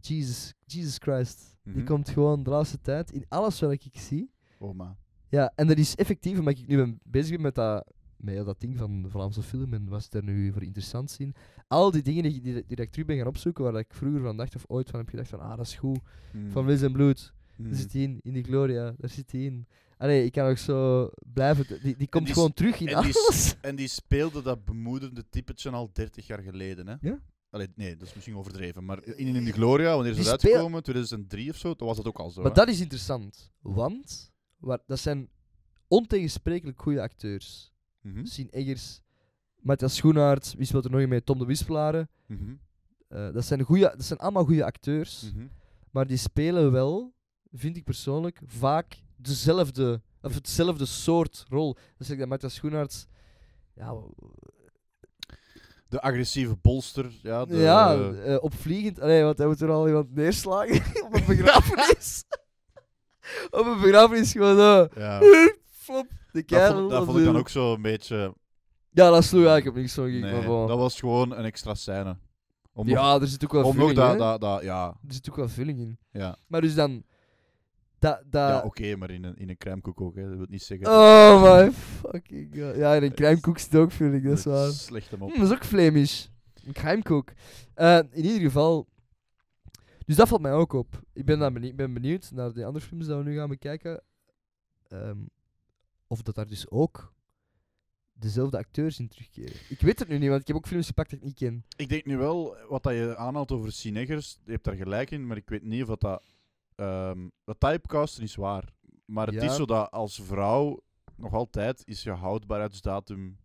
Jesus, Jesus Christ.
Mhm.
Die komt gewoon de laatste tijd in alles wat ik zie.
Oma.
Ja, en dat is effectief, omdat ik nu ben bezig ben met dat, met heel dat ding van de Vlaamse film en wat ze daar nu voor interessant zien. Al die dingen die, die, die ik terug ben gaan opzoeken, waar ik vroeger van dacht of ooit van heb gedacht van, ah, dat is goed.
Mhm.
Van Dus Wils en Bloed,
Mhm.
daar zit hij in. In die Gloria, daar zit hij in. Allee, ik kan ook zo blijven. Die, die komt
die s-
gewoon terug in
en die s-
alles. [LAUGHS]
En die speelde dat bemoedende typetje al 30 jaar geleden. Hè?
Ja?
Allee, nee, dat is misschien overdreven. Maar in, in de Gloria, wanneer is
Die
het
speel-
uitgekomen? 2003 of zo, toen was dat ook al zo.
Maar
hè?
dat is interessant, want waar, dat zijn ontegensprekelijk goede acteurs.
Mhm.
Sien Eggers, Matthias Schoenaerts, wie speelt er nog in mee? Tom de Wispelaren.
Mhm.
Eh, dat, zijn goeie, dat zijn allemaal goede acteurs,
Mhm.
maar die spelen wel, vind ik persoonlijk, vaak dezelfde, of hetzelfde soort rol. Dus ik dat Matthias Schoenaerts... Ja, w-
De agressieve bolster. Ja, de,
ja eh, opvliegend. Allee, want hij moet er al iemand neerslagen [LAUGHS] op een
[LAUGHS]
begrafenis. op een begrafenis gewoon zo...
ja.
[LAUGHS] Flop, de
Dat,
kerel.
vond, dat
op
vond ik
de-
dan ook zo een beetje.
Ja, dat sloeg eigenlijk op niks van.
Nee,
ging maar bon.
dat was gewoon een extra scène. Om nog,
ja, er zit ook wel
om nog
vulling
dat,
in.
dat, dat. Ja,
Er zit ook wel vulling in.
ja.
Maar dus dan... Dat, dat...
ja oké, maar in een, in een crèmekoek ook. Hè. Dat wil niet zeggen.
Oh my fucking god. Ja, in een kruimkoek zit ook vulling, dat is waar.
Slecht op.
Hm, dat is ook Flemisch. Een kruimkoek. Eh, in ieder geval... Dus dat valt mij ook op. Ik ben, dan benieu- ben benieuwd naar de andere films die we nu gaan bekijken. Ehm, of dat daar dus ook dezelfde acteurs in terugkeren. Ik weet het nu niet, want ik heb ook films gepakt die ik niet ken.
Ik denk nu wel, wat dat je aanhaalt over Sineggers, je hebt daar gelijk in, maar ik weet niet of dat... Dat, ehm dat typecasten is waar. Maar het
Ja.
is zo dat als vrouw nog altijd is je houdbaarheidsdatum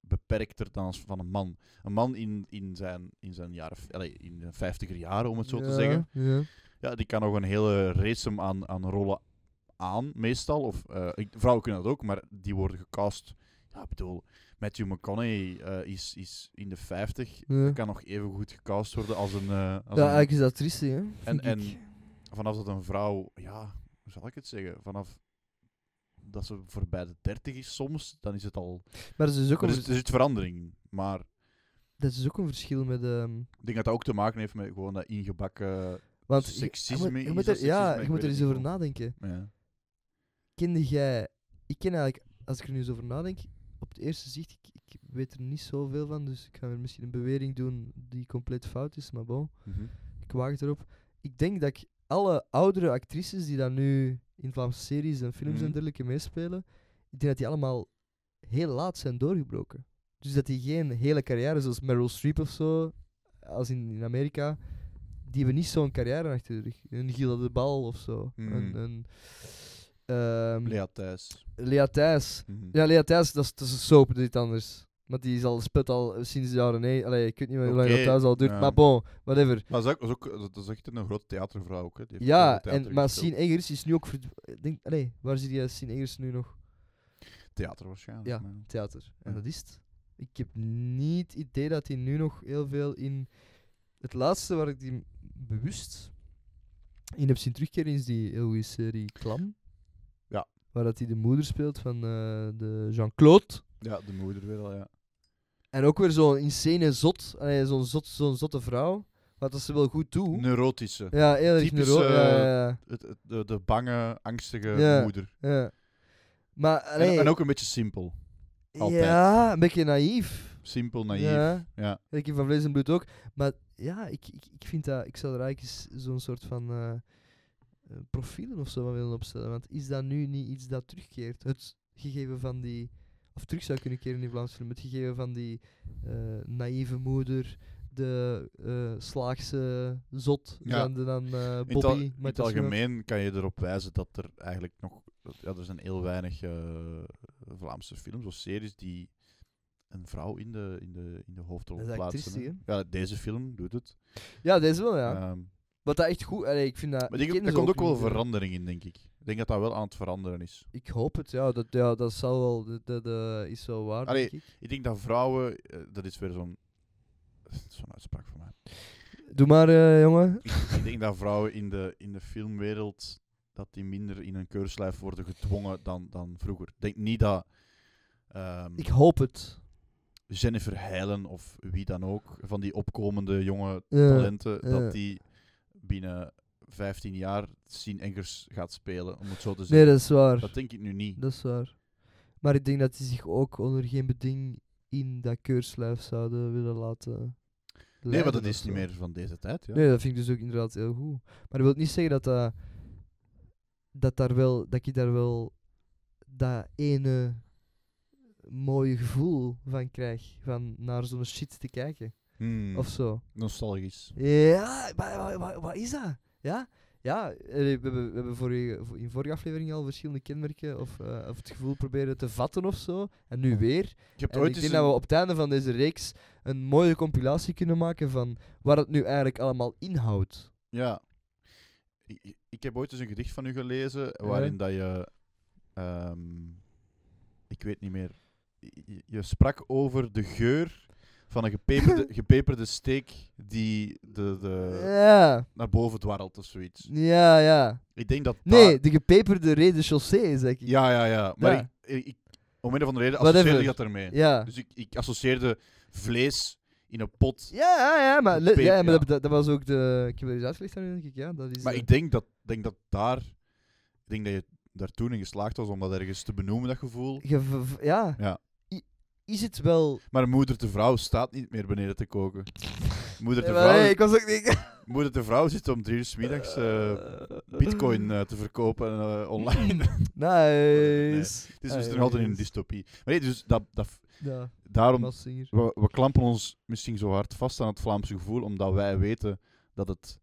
beperkter dan als van een man. Een man in, in zijn, in zijn jaren, allee, in de vijftiger jaren, om het zo te
Ja,
zeggen,
Ja.
ja, die kan nog een hele race aan, aan rollen aan, meestal. Of, eh, ik- vrouwen kunnen dat ook, maar die worden gecast. Ja, ik bedoel, Matthew McConaughey eh, is, is in de 50
Ja.
kan nog even goed gecast worden als een. eh, als
ja,
een-
eigenlijk is dat triest, hè?
en,
vind
en
ik.
vanaf dat een vrouw, ja, hoe zal ik het zeggen? Vanaf dat ze voorbij de 30 is soms, dan is het al.
Maar dat is, dus
Er
ook een
is,
vers-
er zit verandering. in, Maar
dat is dus ook een verschil met... ehm
ik denk dat dat ook te maken heeft met gewoon dat ingebakken.
want je-
Seksisme
je, moet- je
is
moet
dat
er, Ja,
seksisme? Ik
je moet er
weet
eens
het
over
niet, man.
nadenken.
eh, Ja.
Kende jij... Ik ken eigenlijk, als ik er nu eens over nadenk, op het eerste zicht, ik, ik weet er niet zoveel van, dus ik ga er misschien een bewering doen die compleet fout is, maar bon,
Mhm.
ik waag het erop. Ik denk dat ik alle oudere actrices die dan nu in Vlaamse series en films
Mhm.
en dergelijke meespelen, ik denk dat die allemaal heel laat zijn doorgebroken. Dus dat die geen hele carrière, zoals Meryl Streep of zo, als in, in Amerika, die hebben niet zo'n carrière achter de rug. Een Gilda de Bal of zo.
Mhm.
Een, een, ehm,
Lea Mhm. Thijs.
Lea Thijs.
Mhm.
Ja, Lea Thijs, dat is, dat is een soap, dat is iets anders. Want die is al sput al sinds de jaren 9. Allee, ik weet niet meer hoe lang
Oké,
dat thuis al duurt.
ja.
Maar bon, whatever.
Maar dat is, ook, dat is ook- dat is echt een grote theatervrouw ook. Hè. Die heeft heel
Ja,
veel theater
en, maar
gespeeld.
Sien Eggers is nu ook... verd- ik Denk, allee, waar zit die Sien Eggers nu nog?
Theater waarschijnlijk.
Ja.
maar
Theater. En
Ja.
dat is het. Ik heb niet het idee dat hij nu nog heel veel in... Het laatste waar ik die bewust in heb zien terugkeren is die heel goede serie Klam.
Ja.
Waar dat hij de moeder speelt van eh, de Jean-Claude.
Ja, de moeder weer al, ja.
En ook weer zo'n insane zot. allee, Zo'n zot, zo'n zotte vrouw. Wat dat ze wel goed doet.
Neurotische.
Ja, heel erg
Typisch,
neuro.
eh,
Ja, ja,
Het, het- de, de bange, angstige
Ja.
moeder.
ja, ja. Maar,
En-
allee,
En, ook een beetje simpel. altijd.
ja, een beetje naïef.
Simpel, naïef.
Ja.
ja.
Ik heb van vlees en bloed ook. Maar ja, ik, ik, ik vind dat... Ik zou er eigenlijk eens zo'n soort van eh, eh, profielen of zo van willen opstellen. Want is dat nu niet iets dat terugkeert? Het gegeven van die... Of terug zou kunnen keren in Vlaamse film. Het gegeven van die eh, naïeve moeder... De eh, slaagse zot
Ja.
dan, de- dan eh,
In het al-
Bobby.
in
maar
het
dat is nog-
algemeen kan je erop wijzen dat er eigenlijk nog... dat- Ja, er zijn heel weinig eh, Vlaamse films of series die een vrouw in de, in de, in de hoofdrol
Dat is
plaatsen.
actrice,
hè. ja, deze film doet het.
Ja, deze wel, ja.
Ehm,
Wat dat echt goed... Allee, ik vind dat...
maar
ik
ik denk-
ken
er
ze
komt ook wel
niet, eh.
verandering in, denk ik. Ik denk dat dat wel aan het veranderen is.
Ik hoop het, ja. Dat, ja, dat zal wel... Dat, dat, eh, is wel waar,
Allee,
denk ik.
Ik denk dat vrouwen... eh, dat is weer zo'n... eh, Zo'n uitspraak van mij. [LAUGHS]
Doe maar, eh, jongen.
Ik denk dat vrouwen in de, in de filmwereld dat die minder in een keurslijf worden gedwongen dan, dan vroeger. Ik denk niet dat ehm,
Ik hoop het.
Jennifer Heilen of wie dan ook, van die opkomende jonge
Ja,
talenten,
ja.
dat die binnen 15 jaar Sien Engers gaat spelen, om het zo te
Nee,
zeggen.
dat is waar.
dat denk ik nu niet.
Dat is waar. Maar ik denk dat die zich ook onder geen beding in dat keurslijf zouden willen laten
Nee,
leiden
maar dat
of
is niet
zo.
meer van deze tijd. Ja.
Nee, dat vind ik dus ook inderdaad heel goed. Maar dat wil niet zeggen dat dat... Dat, daar wel, dat ik daar wel dat ene mooie gevoel van krijg. Van naar zo'n shit te kijken.
Hmm,
Of zo.
nostalgisch.
Ja, maar wa- wa- wat is dat? Ja, ja eh, we hebben, we hebben vorige, vo- in vorige aflevering al verschillende kenmerken of, eh, of het gevoel proberen te vatten of zo. En nu weer.
Je hebt
En ik
ooit
denk
eens
dat we
een-
op het einde van deze reeks een mooie compilatie kunnen maken van waar het nu eigenlijk allemaal inhoudt.
Ja. Ik, ik- ik heb ooit eens een gedicht van u gelezen
Ja.
waarin dat je... ehm, ik weet niet meer. Je, je sprak over de geur van een
[LAUGHS]
gepeperde, gepeperde steek die de, de
Ja,
naar boven dwarrelt of zoiets.
ja, ja.
Ik denk dat
Nee,
daar-
de gepeperde reden chaussee, zeg ik.
Ja, ja, ja. Maar
Ja.
Ik, ik, om een of andere reden
Whatever.
associeerde ik dat ermee.
Ja.
Dus ik, ik associeerde vlees in een pot.
Ja, ja, ja, maar, le-
Peper,
ja, maar
ja.
Dat, dat was ook de... Ik heb er eens uitgelegd aan u, denk ik. Ja, dat is,
Maar
eh,
ik denk dat, denk dat daar... Ik denk dat je daar toen in geslaagd was om dat ergens te benoemen, dat gevoel.
Je v- v- ja.
Ja.
I- Is het wel.
Maar moeder de vrouw staat niet meer beneden te koken. Moeder de
Nee, maar
vrouw,
nee, ik was ook
[LAUGHS]
niet.
moeder de vrouw zit om drie uur 's middags eh, bitcoin
[LAUGHS]
eh, te verkopen eh, online. [LAUGHS]
Nice.
Het is dus nog altijd in een dystopie. Maar nee, dus dat, dat,
Ja,
daarom,
Bas Singer.
we, we klampen ons misschien zo hard vast aan het Vlaamse gevoel, omdat wij weten dat het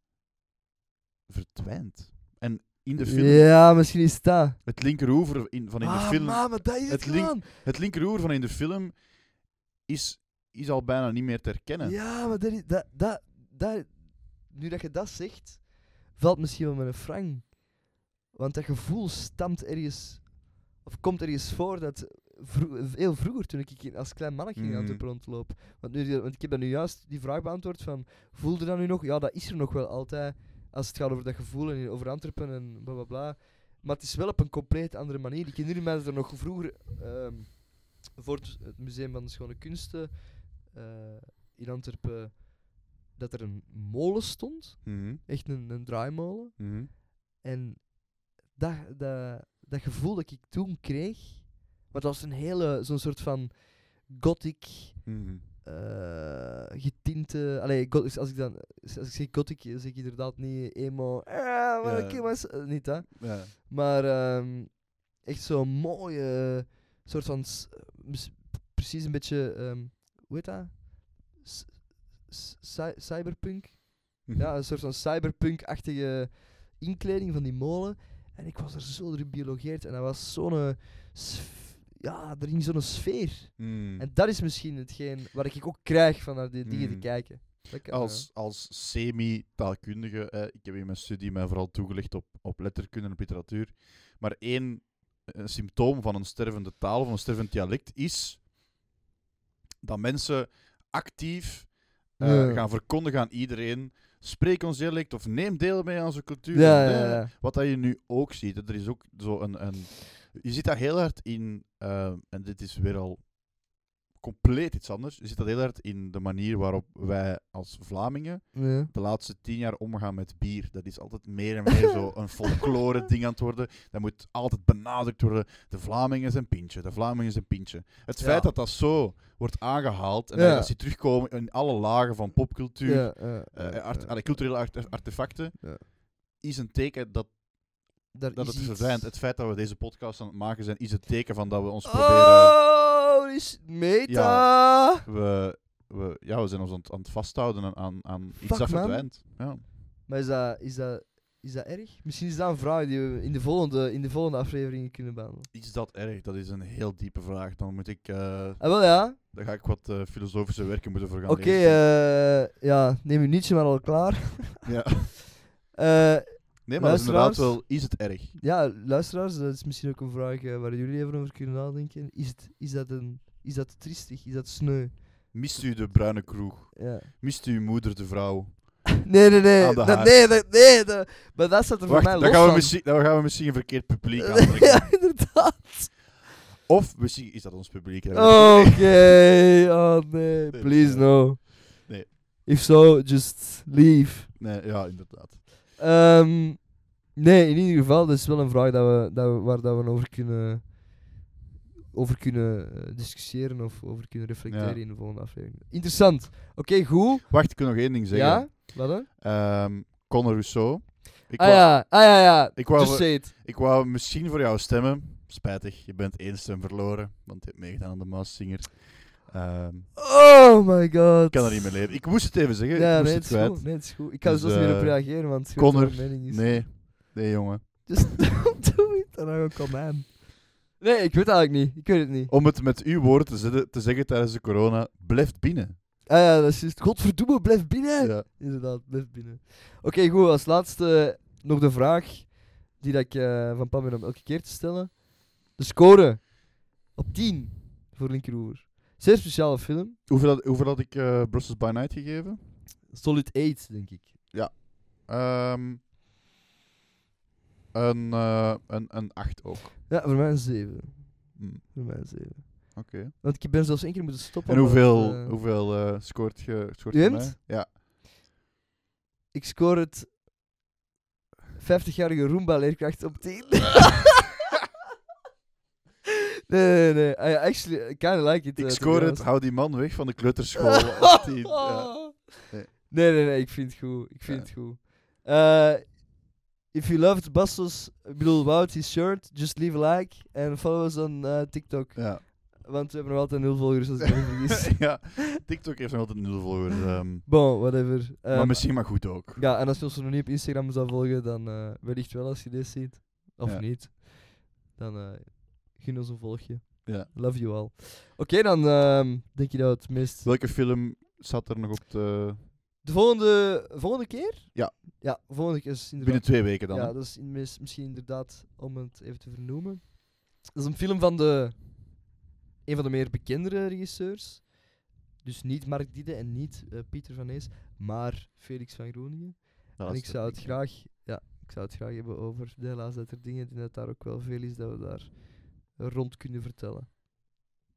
verdwijnt. En in de film,
Ja, misschien is het dat.
het linkeroever in, van in de
ah,
film...
ma, maar dat is het,
het link-
gedaan.
Het linkeroever van in de film is, is al bijna niet meer te herkennen.
Ja, maar dat is. Dat, dat, dat, nu dat je dat zegt, valt misschien wel met een frang. Want dat gevoel stamt ergens. Of komt ergens voor dat. vro- heel vroeger, toen ik in- als klein mannetje aan
Mhm.
de rondloop. Want, nu, want ik heb dat nu juist die vraag beantwoord van. Voelde dat nu nog? Ja, dat is er nog wel altijd. Als het gaat over dat gevoel en over Antwerpen en bla bla bla. Maar het is wel op een compleet andere manier. Ik herinner mij dat er nog vroeger ehm, voor het, het Museum van de Schone Kunsten eh, in Antwerpen dat er een molen stond.
Mhm,
Echt een, een draaimolen.
mhm.
En dat, dat, dat gevoel dat ik toen kreeg, want dat was een hele, zo'n soort van gothic
Mhm.
eh, getinte. Allee, go- als ik dan als ik zeg gothic, zeg ik inderdaad niet emo. Ah, maar
Ja.
ik was eh, niet dat.
Ja.
Maar ehm, echt zo'n mooie soort van. s- mis- precies een beetje. ehm, hoe heet dat? S- s- cy- cyberpunk.
Mhm.
Ja, een soort van cyberpunk-achtige inkleding van die molen. En ik was er zo door gebiologeerd en dat was zo'n eh, sf- ja, er ging zo'n sfeer.
Hmm.
En dat is misschien hetgeen waar ik ook krijg van naar die dingen te
Mm.
kijken. Dat kan,
Als, als semi-taalkundige, eh, ik heb in mijn studie mij vooral toegelicht op, op letterkunde en op literatuur. Maar één eh, symptoom van een stervende taal of een stervend dialect is dat mensen actief eh,
Ja.
gaan verkondigen aan iedereen. Spreek ons dialect of neem deel mee aan onze
ja.
cultuur.
Ja,
en,
ja,
eh,
ja.
Wat dat je nu ook ziet, hè, er is ook zo een, een je ziet dat heel hard in, eh, en dit is weer al compleet iets anders, je ziet dat heel hard in de manier waarop wij als Vlamingen
Ja.
de laatste tien jaar omgaan met bier. Dat is altijd meer en meer zo een folklore ding aan het worden. Dat moet altijd benadrukt worden, de Vlamingen zijn pintje, de Vlamingen zijn pintje. Het
Ja.
feit dat dat zo wordt aangehaald en
Ja.
dat je ziet terugkomen in alle lagen van popcultuur,
Ja, ja,
eh,
ja,
art-
ja.
allee, culturele arte- artefacten,
Ja.
is een teken dat
Daar
dat
is
het
iets.
verdwijnt. Het feit dat we deze podcast aan het maken zijn, is het teken van dat we ons proberen.
Oh, die is meta.
We, we, ja, we zijn ons aan, het- aan het vasthouden aan, aan, aan iets
Fuck,
dat
man.
verdwijnt. Ja.
Maar is dat, is, dat, is dat erg? Misschien is dat een vraag die we in de volgende, in de volgende afleveringen kunnen behandelen.
Is dat erg? Dat is een heel diepe vraag. Dan moet ik, eh
Ah, wel ja.
daar ga ik wat eh, filosofische werken moeten voor gaan
Oké,
lezen.
eh, ja, neem je nietje maar al klaar.
[LAUGHS] Ja.
[LAUGHS] Eh,
Nee, maar dat is inderdaad
luisteraars?
wel, is het erg?
ja, luisteraars, dat is misschien ook een vraag eh, waar jullie even over kunnen nadenken. Is, het, is, dat, een, is dat triestig? Is dat sneu?
Mist u de bruine kroeg?
Ja.
Mist u uw moeder de vrouw?
Nee, nee, nee.
Aan de
Dat,
haard.
nee, dat, nee. dat- maar dat staat er voor
Wacht,
mij los
dan gaan, we
van.
misschien, dan gaan we misschien een verkeerd
[LAUGHS]
publiek aantrekken.
ja, inderdaad.
Of misschien is dat ons publiek. dat weet ik
Oké,
niet.
oh nee,
Dus,
please
eh,
no.
nee.
If so, just leave.
Nee, ja, inderdaad.
Ehm, nee, in ieder geval, dat is wel een vraag dat we, dat we, waar dat we over kunnen, over kunnen eh, discussiëren of over kunnen reflecteren
Ja.
in de volgende aflevering. Interessant. Oké, goed.
Wacht, ik kan nog één ding zeggen.
Ja? Wat dan?
Ehm Conor Rousseau. Ik
Ah
wou,
ja, eh, ah ja, ja.
ik, wou,
Just say it.
ik wou misschien voor jou stemmen. Spijtig, je bent één stem verloren. Want je hebt meegedaan aan de Maaszinger. Ehm,
Oh my god.
ik kan er niet meer leven. Ik moest het even zeggen.
Ja,
ik moest
nee,
het
het is
kwijt.
goed. Nee, het is goed. Ik kan er
Dus,
zelfs niet meer op
eh,
reageren, want je weet
Connor,
wat mijn mening is.
Nee. Nee, jongen.
[LAUGHS] Just don't do it. En dan kom aan. Nee, ik weet het eigenlijk niet. Ik weet het niet.
Om het met uw woorden te, zetten- te zeggen tijdens de corona, blijft binnen.
Ah ja, dat is juist. Godverdomme, blijf binnen.
Ja.
Inderdaad, blijf binnen. Oké, goed. Als laatste nog de vraag die dat ik eh, van plan ben om elke keer te stellen. De score op 10 voor Linkeroever. Zeer speciale film.
Hoeveel had, hoeveel had ik eh, Brussels by Night gegeven?
Solid 8, denk ik.
Ehm, een, eh, een, een 8 ook.
Ja, voor mij een 7.
Hm,
Voor mij een 7.
Oké.
Want ik ben zelfs één keer moeten stoppen.
En
omdat het,
hoeveel,
eh,
hoeveel eh, scoort je? Scoort
U
je
hebt?
mij? Ja.
Ik score het 50-jarige Roomba-leerkracht op
[LAUGHS]
10. nee, nee, nee. I actually I kinda like it. eh,
Ik
to
score het,
be honest.
hou die man weg van de
[LAUGHS]
kleuterschool. op die- ja. Nee.
Nee, nee, nee. Ik vind het goed. Ik vind
Ja.
het goed. Eh, if you loved Bastos, ik bedoel Wout, his shirt, just leave a like and follow us on eh, TikTok.
Ja.
[LAUGHS] Want we hebben nog altijd nul volgers als ik me
[LAUGHS]
niet vergis.
ja, TikTok heeft nog altijd nul volgers. ehm,
Bon, whatever.
maar
Ehm,
misschien maar goed ook.
Ja, en als je ons nog niet op Instagram zou volgen, dan eh, wellicht wel als je dit ziet. Of
Ja.
niet. Dan eh gun ons een volgje.
Ja.
Love you all. Oké, dan ehm, denk je dat het meest...
Welke film zat er nog op de...
De volgende, volgende keer?
Ja.
Ja, volgende keer is inderdaad...
Binnen twee weken dan. hè?
Ja, dat is in- mis- misschien inderdaad, om het even te vernoemen. Dat is een film van de, een van de meer bekendere regisseurs. Dus niet Mark Diede en niet eh, Pieter van Ees, maar Felix van Groningen.
Dat
En
is
ik zou het
ding.
graag, ja, ik zou het graag hebben over de helaas dat er dingen, ik denk dat daar ook wel veel is dat we daar rond kunnen vertellen.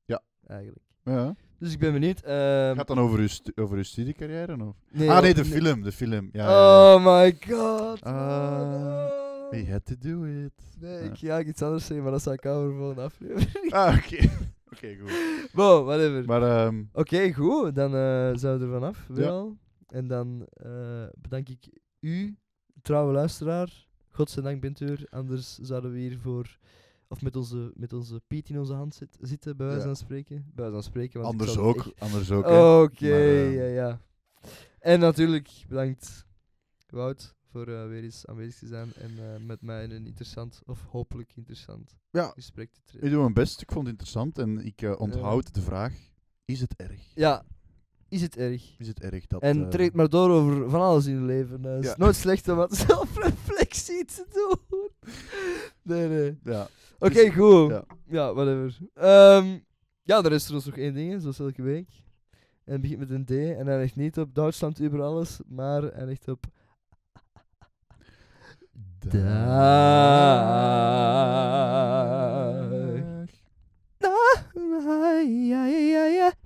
Ja.
Eigenlijk.
Ja.
Dus ik ben benieuwd. ehm,
Gaat dan over uw, stu- over uw studiecarrière? Of?
nee,
ah nee,
oh,
de film. De film. Ja, ja, ja.
Oh my god. man,
Ah,
oh.
We had to do it.
Nee,
ja.
ik ga iets anders zeggen, maar dat zou ik houden voor een aflevering.
Ah, oké. [LAUGHS] Oké, goed.
Wow, whatever.
Maar ehm,
Oké, goed. Dan eh zijn we er vanaf, weer
Ja.
al. En dan eh, bedank ik u, trouwe luisteraar. Godzijdank bent u er, anders zouden we hier voor... Of met onze, met onze Piet in onze hand zit- zitten, bij wijze
Ja.
van spreken. Bij wijze van spreken. Want ik
anders,
zou het
ook,
echt- Oh.
anders ook. hè.
Oké,
Maar, eh,
ja, ja. En natuurlijk bedankt Wout voor eh, weer eens aanwezig te zijn en eh, met mij in een interessant, of hopelijk interessant,
Ja.
gesprek te treden.
Ik doe mijn best. Ik vond het interessant en ik eh, onthoud de vraag: is het erg?
Ja, is het erg?
Is het erg dat.
En
eh,
treed maar door over van alles in je leven. Het is
Ja.
nooit slecht om wat [LAUGHS] zelfreflectie te doen. Nee, nee.
Ja,
Oké,
Dus-
goed. Ja,
ja.
whatever. Ehm, ja, er is trouwens nog één ding, hè, zoals elke week. En het begint met een D. En hij ligt niet op Duitsland over alles, maar hij ligt op Dag.
Dag.
Ah, ja, ja, ja, ja.